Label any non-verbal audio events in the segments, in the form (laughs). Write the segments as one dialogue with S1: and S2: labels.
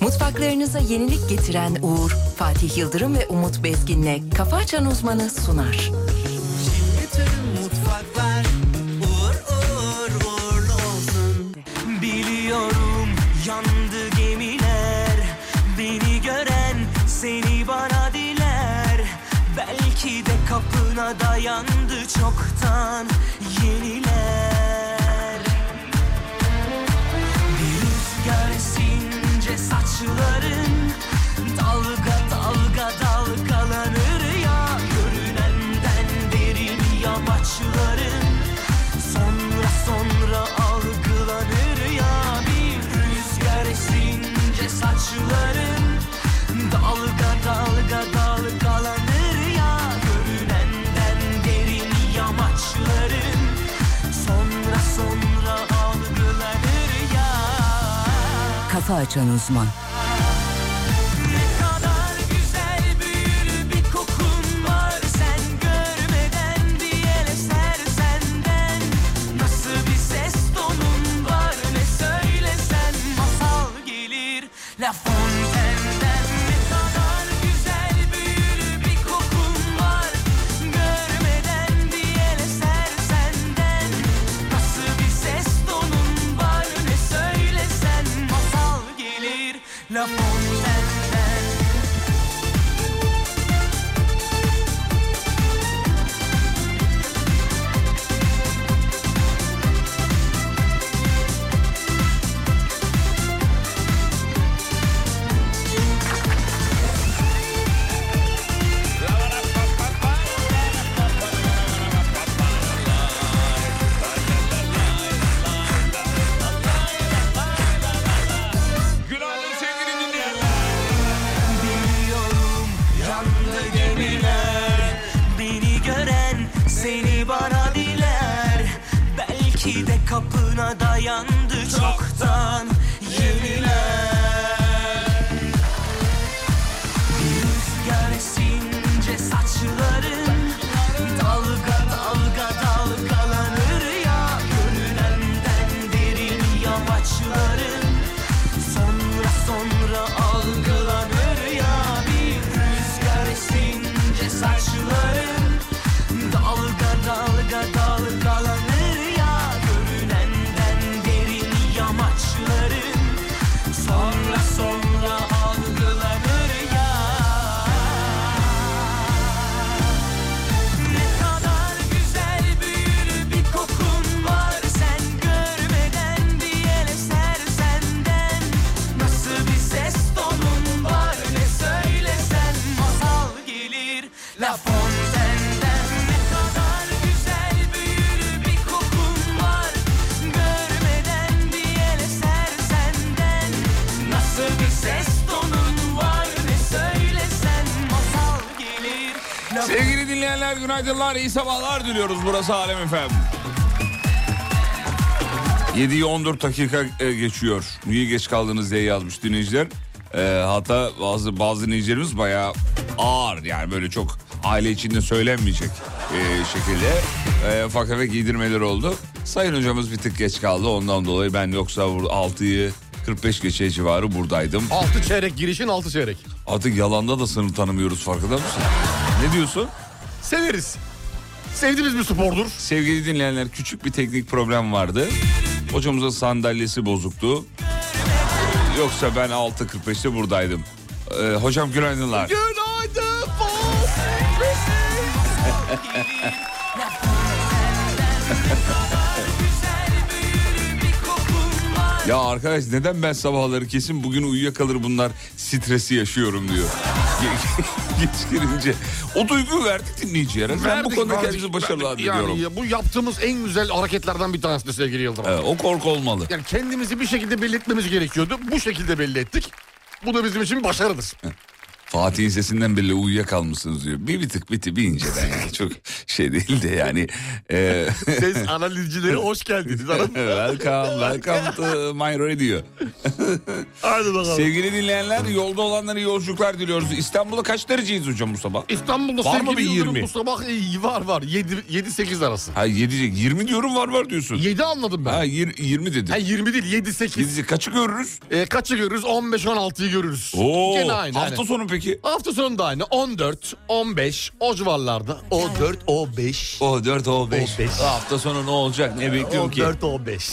S1: Mutfaklarınıza yenilik getiren Uğur, Fatih Yıldırım ve Umut Bezgin'le Kafa Açan Uzmanı sunar.
S2: Şimdi tüm mutfaklar uğur uğur uğurlu olsun. Biliyorum yandı gemiler. Beni gören seni bana diler. Belki de kapına dayandı çoktan yeniler. Bir rüzgar esince saçların Dalga dalga dalgalanır ya Görünenden derin yamaçların Sonra sonra algılanır ya Bir rüzgar esince saçların Dalga dalga dalgalanır ya Görünenden derin yamaçların Sonra sonra algılanır ya
S1: Kafa Açan Uzman.
S2: ne kadar güzel büyülü bir kokun var sen görmeden bir el eser senden nasıl bir ses tonun var ne söylesen masal gelir La Fontaine'den ne kadar güzel büyülü bir kokun var görmeden bir el eser senden nasıl bir ses tonun var ne söylesen masal gelir La Fontaine'den
S3: Günaydın sevgili dinleyenler.
S2: Biliyorum yandı gemiler Beni gören seni bana diler Belki de kapına dayandı çoktan yeniler Bir rüzgar esince saçların Dalga dalga dalgalanır ya Görünenden derin yamaçların Sonra sonra algılanır ya bir rüzgar esince saçların Dalga dalga dalgalanır ya Görünenden derin yamaçların Sonra sonra algılanır ya ne kadar güzel büyülü bir kokun var sen görmeden bir el eser senden nasıl bir ses tonun var ne söylesen masal gelir La Fontaine'den ne kadar güzel büyülü bir kokun var görmeden bir el eser senden nasıl bir ses tonun var ne söylesen masal gelir La
S3: Sevgili dinleyenler günaydınlar, iyi sabahlar diliyoruz. Burası Alem Efem. 7'yi 14 dakika e, geçiyor. Niye geç kaldınız diye yazmış dinleyiciler. E, hatta bazı bazı dinleyicilerimiz bayağı ağır yani böyle çok aile içinde söylenmeyecek e, şekilde e, ufak tefek giydirmeler oldu. Sayın hocamız bir tık geç kaldı ondan dolayı ben yoksa 6'yı 45 geçe civarı buradaydım.
S4: 6 çeyrek girişin 6 çeyrek.
S3: Artık yalanda da sınır tanımıyoruz farkında mısın? Ne diyorsun?
S4: Severiz. Sevdiğimiz bir spordur.
S3: Sevgili dinleyenler küçük bir teknik problem vardı. Hocamızın sandalyesi bozuktu. Yoksa ben 6.45'te buradaydım. Ee, hocam günaydınlar.
S4: Günaydın
S3: Ya arkadaş neden ben sabahları kesin bugün uyuyakalır bunlar stresi yaşıyorum diyor. Ge- (laughs) Geç girince. O duyguyu verdik dinleyiciye. Ben bu konuda kendimizi başarılı
S4: yani
S3: addediyorum.
S4: ya bu yaptığımız en güzel hareketlerden bir tanesi de sevgili Yıldırım.
S3: Ee, o korku olmalı.
S4: Yani
S3: (laughs)
S4: kendimizi bir şekilde belli etmemiz gerekiyordu. Bu şekilde belli ettik. Bu da bizim için bir başarıdır.
S3: Fatih'in sesinden belli uyuyakalmışsınız diyor. Bir, bir tık biti bir inceden yani. Çok şey değil de yani. E, (laughs)
S4: Ses analizcileri hoş geldiniz. hanım.
S3: welcome, welcome to my radio.
S4: Hadi bakalım.
S3: Sevgili dinleyenler yolda olanlara iyi yolculuklar diliyoruz. İstanbul'a kaç dereceyiz hocam bu sabah?
S4: İstanbul'da
S3: Var mı
S4: sevgili
S3: bir
S4: Yıldırım
S3: 20?
S4: bu sabah e, var var. 7-8 arası.
S3: Ha 7 20 diyorum var var diyorsun.
S4: 7 anladım ben.
S3: Ha yir- 20 dedim.
S4: Ha, 20 değil 7-8.
S3: Gidecek kaçı görürüz?
S4: E, kaçı görürüz? 15-16'yı görürüz.
S3: Oo,
S4: Gene aynı.
S3: hafta
S4: hani.
S3: sonu peki?
S4: Hafta sonu da aynı. 14, 15 o civarlarda. O 4, o 5.
S3: O 4 o 5.
S4: beş.
S3: Hafta sonu ne olacak? Ne bekliyorum ki?
S4: 4, o 5.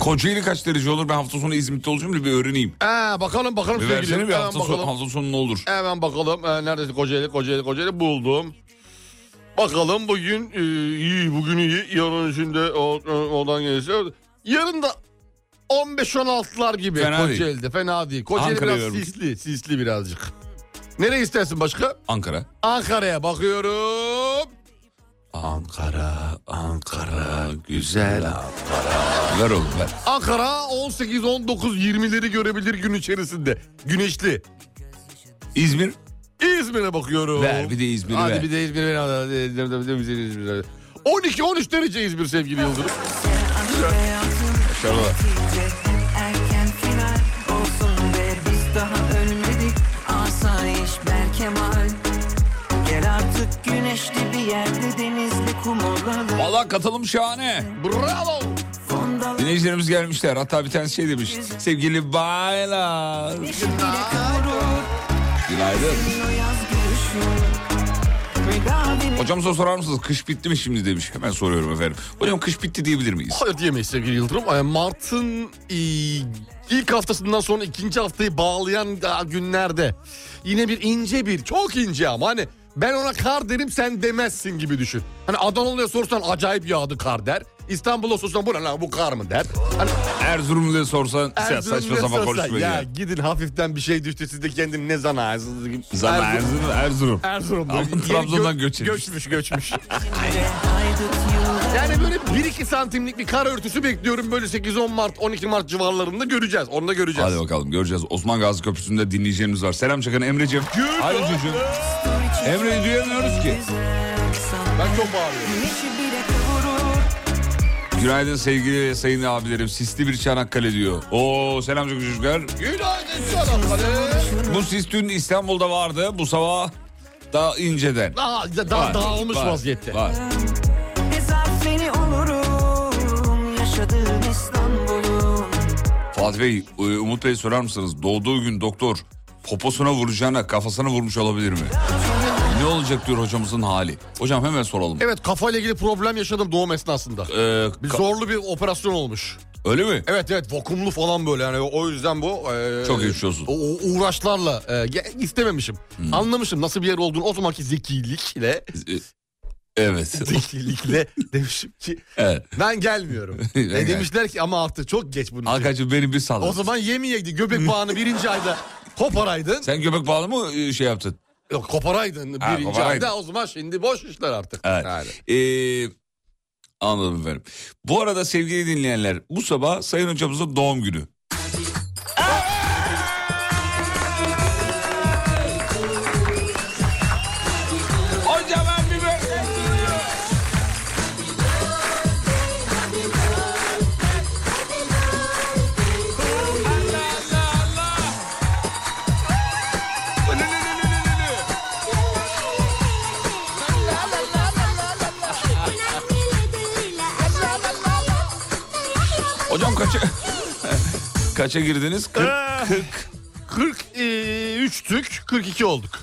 S3: Kocaeli kaç derece olur? Ben hafta sonu İzmit'te olacağım da bir öğreneyim.
S4: Ha, bakalım bakalım
S3: Bir
S4: sevgili.
S3: versene bir
S4: Hemen
S3: hafta sonu,
S4: bakalım.
S3: hafta sonu ne olur?
S4: Hemen bakalım. Ee, neredeyse Kocaeli, Kocaeli, Kocaeli buldum. Bakalım bugün e, iyi, bugün iyi. Yarın şimdi o, o- oradan gelirse. Yarın da 15-16'lar gibi
S3: Fena değil.
S4: Kocaeli'de. Fena değil. Kocaeli
S3: Ankara'ya
S4: biraz
S3: vermiş.
S4: sisli, sisli birazcık. Nereye istersin başka?
S3: Ankara.
S4: Ankara'ya bakıyorum.
S3: Ankara, Ankara, güzel Ankara. Ver oğlum ver.
S4: Ankara 18, 19, 20'leri görebilir gün içerisinde. Güneşli.
S3: İzmir.
S4: İzmir'e bakıyorum.
S3: Ver bir de İzmir'i
S4: Hadi
S3: ver.
S4: bir de İzmir ver. Hadi, hadi, hadi, hadi, İzmir, İzmir, hadi. 12 13 derece İzmir sevgili Yıldırım.
S3: Şarkı.
S5: Erken final olsun be biz daha ölmedik Asayiş Berkemal Gel artık güneşli bir yerde denizli kum olalım
S3: Valla katılım şahane.
S4: Bravo.
S5: Fonda
S3: Dinleyicilerimiz gelmişler. Hatta bir tanesi şey demiş. Sevgili baylar.
S5: şimdi kavrul
S3: Günaydın.
S5: o yaz gülüşün Veda
S3: Hocamıza sorar mısınız? Kış bitti mi şimdi demiş. Hemen soruyorum efendim. Hocam kış bitti diyebilir miyiz?
S4: Hayır diyemeyiz sevgili Yıldırım. Ay, Mart'ın e, ilk haftasından sonra ikinci haftayı bağlayan daha günlerde yine bir ince bir çok ince ama hani ben ona kar derim sen demezsin gibi düşün. Hani Adanalı'ya sorsan acayip yağdı kar der. İstanbul'a sorsan bu ne lan bu kar mı der. Hani
S3: Erzurumlu'ya sorsan sen saçma
S4: Erzurumlu'ya
S3: sapan
S4: sorsan,
S3: konuşma
S4: ya.
S3: ya.
S4: gidin hafiften bir şey düştü siz de kendini ne zanaarsınız gibi.
S3: Zaman
S4: Erzurum-
S3: Erzurum. Erzurum.
S4: Erzurum'da.
S3: Ama
S4: Yeni
S3: Trabzon'dan
S4: gö-
S3: göç etmiş.
S4: Göçmüş göçmüş. yani böyle 1-2 santimlik bir kar örtüsü bekliyorum. Böyle 8-10 Mart 12 Mart civarlarında göreceğiz. Onu da göreceğiz.
S3: Hadi bakalım göreceğiz. Osman Gazi Köprüsü'nde dinleyeceğimiz var. Selam çakan Emre'ciğim. Hadi çocuğum. Emre'yi duyamıyoruz ki.
S4: Ben çok bağırıyorum.
S5: Güneşi bile kavurur
S3: Günaydın sevgili sayın abilerim. Sisli bir Çanakkale diyor. Oo selam çok çocuklar.
S4: Günaydın Çanakkale.
S3: Bu sis dün İstanbul'da vardı. Bu sabah daha inceden.
S4: Daha, daha
S3: Var,
S4: dağılmış
S3: var,
S4: vaziyette.
S3: Var.
S5: Ezafeni olurum Yaşadığım İstanbul'um
S3: Fatih Bey, e, Umut Bey sorar mısınız? Doğduğu gün doktor poposuna vuracağına kafasına vurmuş olabilir mi? Ne olacak diyor hocamızın hali. Hocam hemen soralım.
S4: Evet kafayla ilgili problem yaşadım doğum esnasında.
S3: Ee,
S4: Bir
S3: ka-
S4: zorlu bir operasyon olmuş.
S3: öyle mi?
S4: Evet evet vakumlu falan böyle yani o yüzden bu e,
S3: Çok geçmiş olsun.
S4: o- o uğraşlarla e, ge- istememişim.
S3: Hmm.
S4: Anlamışım nasıl bir yer olduğunu o zamanki zekilikle
S3: Ee,
S4: (laughs)
S3: Evet. (laughs)
S4: zekilikle demişim ki
S3: evet.
S4: ben gelmiyorum.
S3: (laughs) Ben
S4: e, demişler ki ama artık çok geç bunun için.
S3: Hakan'cığım beni bir sal.
S4: O zaman
S3: (laughs)
S4: yemeyeydi göbek bağını birinci ayda koparaydın.
S3: Sen göbek bağlı mı e, şey yaptın?
S4: Yok koparaydın
S3: Ha,
S4: birinci
S3: koparaydın.
S4: ayda o zaman şimdi boş işler artık.
S3: Evet.
S4: Yani.
S3: Ee, anladım efendim. Bu arada sevgili dinleyenler bu sabah Sayın Hocamızın doğum günü. Hocam ben bir böyle- Allah, Allah, Allah. Lü, lü, lü, lü, lü, lü. Hocam kaça (laughs) kaça girdiniz? 40 40
S4: e, 43'tük 42 olduk.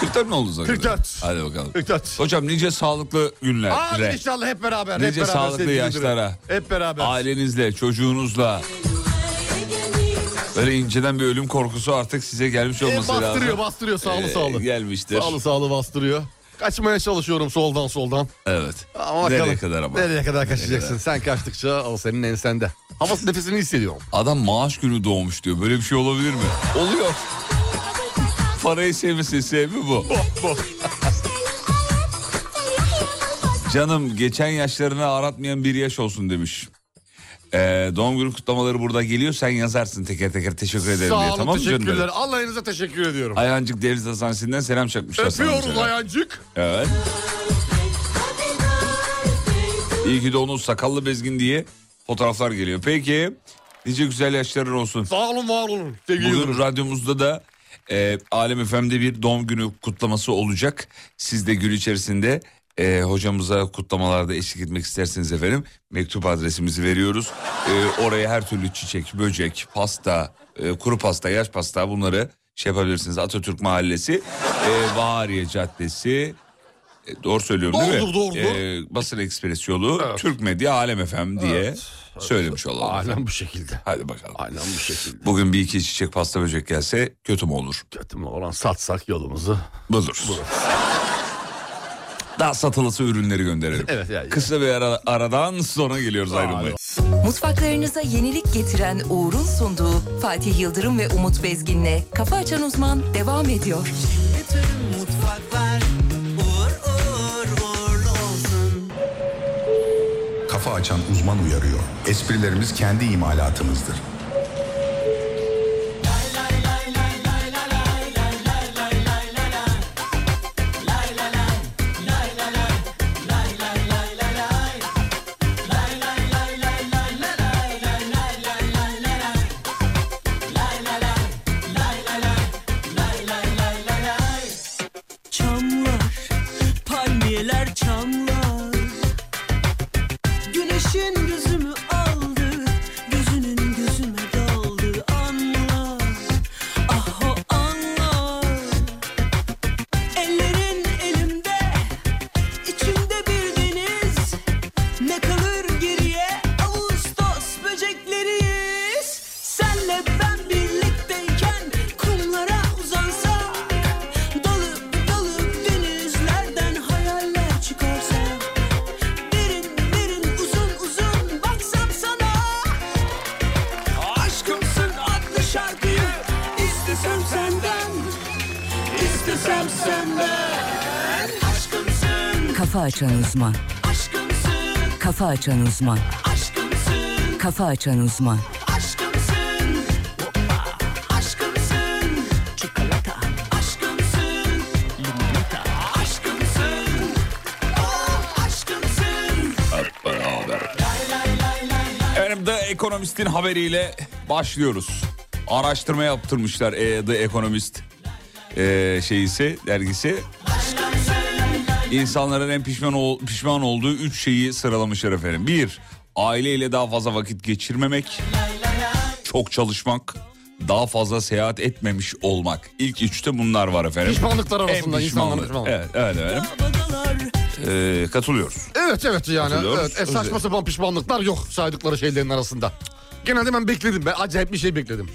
S3: 44 mi oldu zaten?
S4: 44.
S3: Hadi bakalım.
S4: 44.
S3: Hocam nice sağlıklı günler.
S4: Abi inşallah hep beraber.
S3: Nice
S4: hep beraber
S3: sağlıklı
S4: sevgili
S3: yaşlara.
S4: Duru. Hep beraber.
S3: Ailenizle, çocuğunuzla. Böyle inceden bir ölüm korkusu artık size gelmiş
S4: E,
S3: olması lazım.
S4: bastırıyor bastırıyor sağlı
S3: Ee,
S4: sağlı.
S3: Gelmiştir.
S4: Sağlı sağlı bastırıyor. Kaçmaya çalışıyorum soldan soldan.
S3: Evet.
S4: Ama bakalım.
S3: Nereye kadar ama?
S4: Nereye kadar kaçacaksın? Sen kaçtıkça o senin ensende. Havası nefesini hissediyorum.
S3: Adam maaş günü doğmuş diyor. Böyle bir şey olabilir mi? Oluyor. Parayı sevmesin sebebi bu. Canım geçen yaşlarını aratmayan bir yaş olsun demiş. Ee, doğum günü kutlamaları burada geliyor. Sen yazarsın teker teker teşekkür ederim diye.
S4: Sağ olun
S3: Tamam mı canım benim?
S4: teşekkürler. Allah'ınıza teşekkür ediyorum.
S3: Ayancık Devlet Hastanesi'nden selam çakmışlar. sana
S4: Öpüyoruz
S3: mesela.
S4: ayancık.
S3: Evet. İyi ki de onun sakallı bezgin diye fotoğraflar geliyor. Peki nice güzel yaşların olsun.
S4: Sağ olun var olun. Sevgili Yıldırım.
S3: Bugün radyomuzda da e, Alem FM'de bir doğum günü kutlaması olacak. Siz de gün içerisinde e, hocamıza kutlamalarda eşlik etmek isterseniz efendim mektup adresimizi veriyoruz. E, oraya her türlü çiçek, böcek, pasta, e, kuru pasta, yaş pasta bunları şey yapabilirsiniz. Atatürk Mahallesi, e, Bahariye Caddesi, e, doğru söylüyorum değil mi?
S4: Doğrudur, doğrudur.
S3: E, Basın Ekspres yolu,
S4: Evet.
S3: Türk Medya Alem FM diye söylemiş olalım.
S4: Alem bu şekilde.
S3: Hadi bakalım.
S4: Alem bu şekilde.
S3: Bugün bir iki çiçek pasta böcek gelse kötü mü olur?
S4: Kötü mü olan satsak yolumuzu.
S3: Buluruz. Daha satılısı ürünleri gönderelim.
S4: Evet, yani.
S3: Kısa bir ara- aradan sonra geliyoruz ayrılmaya.
S1: Mutfaklarınıza yenilik getiren Uğur'un sunduğu Fatih Yıldırım ve Umut Bezgin'le Kafa Açan Uzman devam ediyor.
S2: Bütün mutfaklar uğur uğur uğurlu olsun.
S6: Kafa açan uzman uyarıyor. Esprilerimiz kendi imalatımızdır.
S2: Çamlar, palmiyeler çamlar. Güneşin gözümü aldı, gözünün gözüme daldı. Anla, ah o anla. Ellerin elimde, içimde bir deniz. Ne kalır geriye Ağustos böcekleriyiz. Senle ben birlikteyken kumlara uzansak. Dalıp dalıp denizlerden hayaller çıkarsa. Derin derin uzun uzun baksam sana. Aşkımsın adlı şarkıyı istesem senden. İstesem senden. Aşkımsın,
S1: Kafa Açan Uzman,
S2: aşkımsın.
S1: Kafa Açan Uzman,
S2: Aşkımsın,
S1: Kafa Açan Uzman.
S2: aşkımsın. Aşkımsın. Çikolata. Aşkımsın. Limonata. Aşkımsın. Oh, aşkımsın.
S3: Hep beraber. Efendim The Economist'in haberiyle başlıyoruz. Araştırma yaptırmışlar e, The Economist e, şeyisi, dergisi.
S2: Aşkımsın.
S3: İnsanların en pişman ol- pişman olduğu üç şeyi sıralamışlar efendim. Bir, aileyle daha fazla vakit geçirmemek. Çok çalışmak. Daha fazla seyahat etmemiş olmak. İlk üçte bunlar var efendim.
S4: Pişmanlıklar
S3: En
S4: arasında insanların
S3: pişmanlığı.
S4: pişmanlığı.
S3: Evet, evet efendim.
S2: Adalar.
S3: Ee, katılıyoruz.
S4: Evet evet yani.
S3: Hatırlıyoruz.
S4: Evet, e, saçma
S3: Özellikle.
S4: sapan pişmanlıklar yok saydıkları şeylerin arasında. Genelde ben bekledim. Ben acayip bir şey bekledim.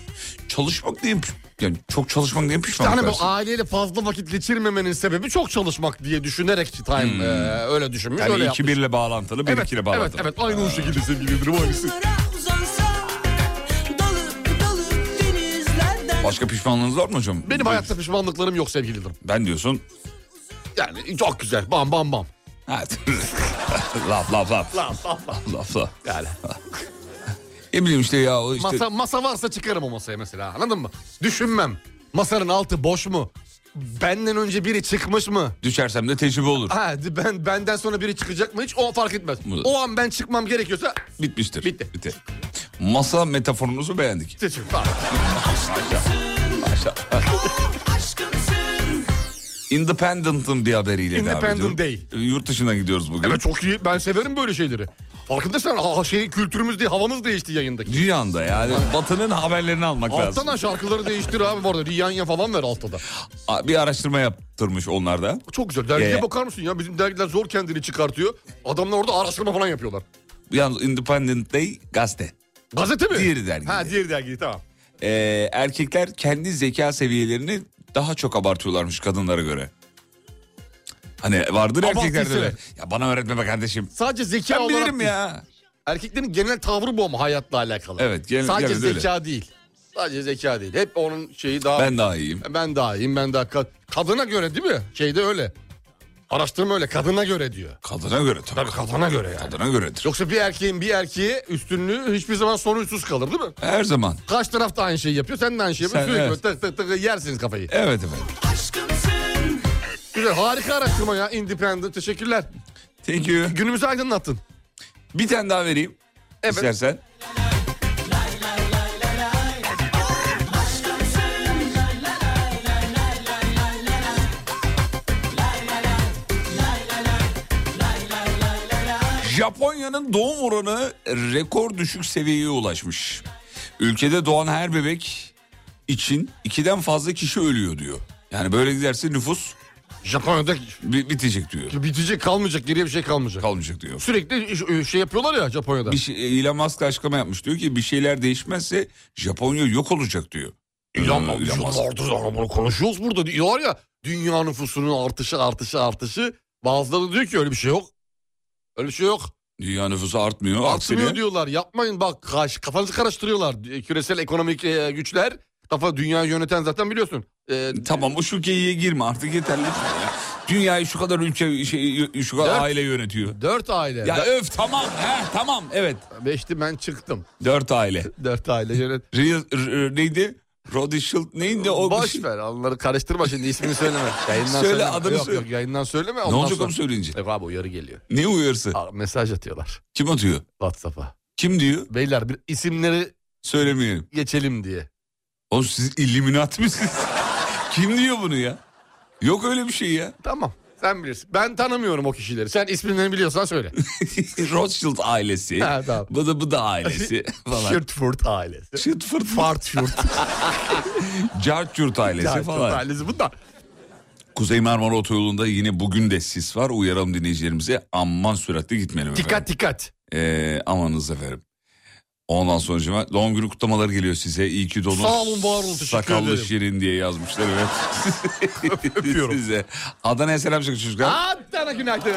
S3: Çalışmak diyeyim. Yani çok çalışmak diyeyim
S4: İşte
S3: pişmanlık.
S4: hani bu
S3: dersin.
S4: aileyle fazla vakit geçirmemenin sebebi çok çalışmak diye düşünerek time e, öyle düşünmüş
S3: Hmm. yani
S4: öyle
S3: iki
S4: yapmış.
S3: birle bağlantılı, bir
S4: Evet,
S3: ikiyle
S4: evet,
S3: bağlantılı.
S4: evet, aynı o şekilde sevgili Yıldırım aynısı.
S2: Kumlara uzansak. Dalıp dalıp denizlerden.
S3: Başka pişmanlığınız var mı hocam?
S4: Benim hayatta pişmanlıklarım yok sevgili Yıldırım.
S3: Ben diyorsun.
S4: Yani çok güzel. Bam bam bam. (laughs)
S3: Evet. laf laf laf.
S4: Laf laf laf.
S3: Laf laf.
S4: Yani.
S3: Ne bileyim işte ya o işte.
S4: Masa, masa varsa çıkarım o masaya mesela anladın mı? Düşünmem. Masanın altı boş mu? Benden önce biri çıkmış mı?
S3: Düşersem de tecrübe olur.
S4: Ha, ben benden sonra biri çıkacak mı hiç o fark etmez.
S3: Bu da-
S4: O an ben çıkmam gerekiyorsa
S3: Bitmiştir.
S4: Bitti.
S3: Bitti. Masa metaforunuzu beğendik.
S4: seçim. Bak,
S2: Oh, Aşkımsın.
S3: Independent'ın bir haberiyle
S4: Independent
S3: devam ediyorum. E,
S4: Day.
S3: Yurt dışına gidiyoruz bugün.
S4: Evet çok iyi. Ben severim böyle şeyleri. Farkındaysan aa, şey kültürümüz değil, havamız değişti yayındaki.
S3: Dünyanda yani batının haberlerini almak
S4: Alttan
S3: lazım.
S4: ha şarkıları değiştir abi bu arada. Riyanya falan ver altta da.
S3: A- Bir araştırma yaptırmış onlar da.
S4: Çok güzel. Dergiye
S3: Ee,
S4: bakar mısın ya? Bizim dergiler zor kendini çıkartıyor. Adamlar orada araştırma falan yapıyorlar.
S3: Yalnız Independent Day gazete.
S4: Gazete mi?
S3: Diğeri dergi.
S4: Ha diğer dergi tamam.
S3: Ee, erkekler kendi zeka seviyelerini daha çok abartıyorlarmış kadınlara göre. Hani vardır
S4: Abartı
S3: erkeklerde de.
S4: hisseder.
S3: Ya bana öğretme be kardeşim.
S4: Sadece zeka
S3: Ben
S4: olarak
S3: bilirim
S4: değil.
S3: ya.
S4: Erkeklerin genel tavrı bu ama hayatla alakalı.
S3: Evet, genel-
S4: Sadece
S3: genelde öyle.
S4: zeka değil. Sadece zeka değil. Hep onun şeyi daha...
S3: Ben daha iyiyim.
S4: Ben daha iyiyim, ben daha... ka- Kadına göre değil mi? Şeyde öyle. Araştırma öyle kadına göre diyor.
S3: Kadına göre tabii.
S4: Tabii kadına göre yani.
S3: Kadına göredir.
S4: Yoksa bir erkeğin bir erkeğe üstünlüğü hiçbir zaman sorunsuz kalır değil mi?
S3: Her zaman.
S4: Kaç taraf da aynı şeyi yapıyor sen de aynı şeyi yapıyorsun.
S3: Sen-
S4: Sürekli
S3: evet.
S4: böyle tık tık tık yersiniz kafayı.
S3: Evet efendim.
S7: Aşkımsın
S4: Güzel harika araştırma ya Independent teşekkürler.
S3: Thank you.
S4: Günümüzü aydınlattın.
S3: Bir tane daha vereyim.
S4: Evet.
S3: İstersen. Japonya'nın doğum oranı rekor düşük seviyeye ulaşmış. Ülkede doğan her bebek için ikiden fazla kişi ölüyor diyor. Yani böyle giderse nüfus
S4: Japonya'da
S3: bi- bitecek diyor.
S4: bitecek kalmayacak geriye bir şey kalmayacak.
S3: Kalmayacak diyor.
S4: Sürekli iş- şey yapıyorlar ya Japonya'da.
S3: Bir şey, Elon Musk açıklama yapmış. Diyor ki bir şeyler değişmezse Japonya yok olacak diyor.
S4: Elon
S3: Ee,
S4: Musk,
S3: Elon Musk.
S4: yıllardır ama bunu konuşuyoruz burada diyorlar ya. Dünya nüfusunun artışı artışı artışı. Bazıları diyor ki öyle bir şey yok. Öyle bir şey yok.
S3: Dünya nüfusu artmıyor.
S4: Artmıyor
S3: aksine
S4: diyorlar yapmayın bak kaş, kafanızı karıştırıyorlar. E, Küresel ekonomik e, güçler kafa dünyayı yöneten zaten biliyorsun. E,
S3: Tamam o şu ülkeye girme artık yeterli. Ya. Dünyayı şu kadar ülke şey, şu kadar
S4: Dört.
S3: aile yönetiyor.
S4: dört aile.
S3: Ya
S4: Ben-
S3: öf tamam he tamam evet.
S4: Beşti ben çıktım.
S3: Dört aile.
S4: Dört aile yönet.
S3: Real, r- r- neydi? Roddy Shield neydi o? bir
S4: Boş
S3: şey-
S4: ver onları karıştırma şimdi ismini söyleme. (laughs) Yayından
S3: Söyle,
S4: söyleme.
S3: adını
S4: yok,
S3: söyle.
S4: Yok, yayından söyleme.
S3: Ne
S4: ondan
S3: olacak
S4: sonra-
S3: onu söyleyince?
S4: Yok abi uyarı geliyor.
S3: Ne uyarısı?
S4: Aa, Mesaj atıyorlar
S3: Kim atıyor?
S4: Whatsapp'a.
S3: Kim diyor?
S4: Beyler bir isimleri
S3: Söylemeyelim.
S4: geçelim diye.
S3: Oğlum siz illuminat mısınız? (laughs) Kim diyor bunu ya? Yok öyle bir şey ya.
S4: Tamam sen bilirsin. Ben tanımıyorum o kişileri. Sen ismini
S3: (laughs)
S4: biliyorsan söyle.
S3: Rothschild ailesi.
S4: Ha, tamam.
S3: Bıdı bıdı
S4: (laughs)
S3: ailesi falan.
S4: Şırtfurt ailesi.
S3: Şırtfırt.
S4: Fartfurt
S3: Cartçurt ailesi falan.
S4: ailesi bunlar.
S3: Kuzey Marmara Otoyolu'nda yine bugün de sis var. Uyaralım dinleyicilerimize. Aman süratli gitmeyelim
S4: Dikkat
S3: efendim.
S4: dikkat.
S3: Ee, amanınız efendim. Ondan sonra doğum günü kutlamaları geliyor size. İyi ki doğdun.
S4: Sağ olun, var olun, teşekkür
S3: Sakallı
S4: ederim.
S3: şirin diye yazmışlar evet.
S4: (laughs) Öpüyorum.
S3: Size. Adana'ya selam çakın çocuklar.
S4: Adana günaydın.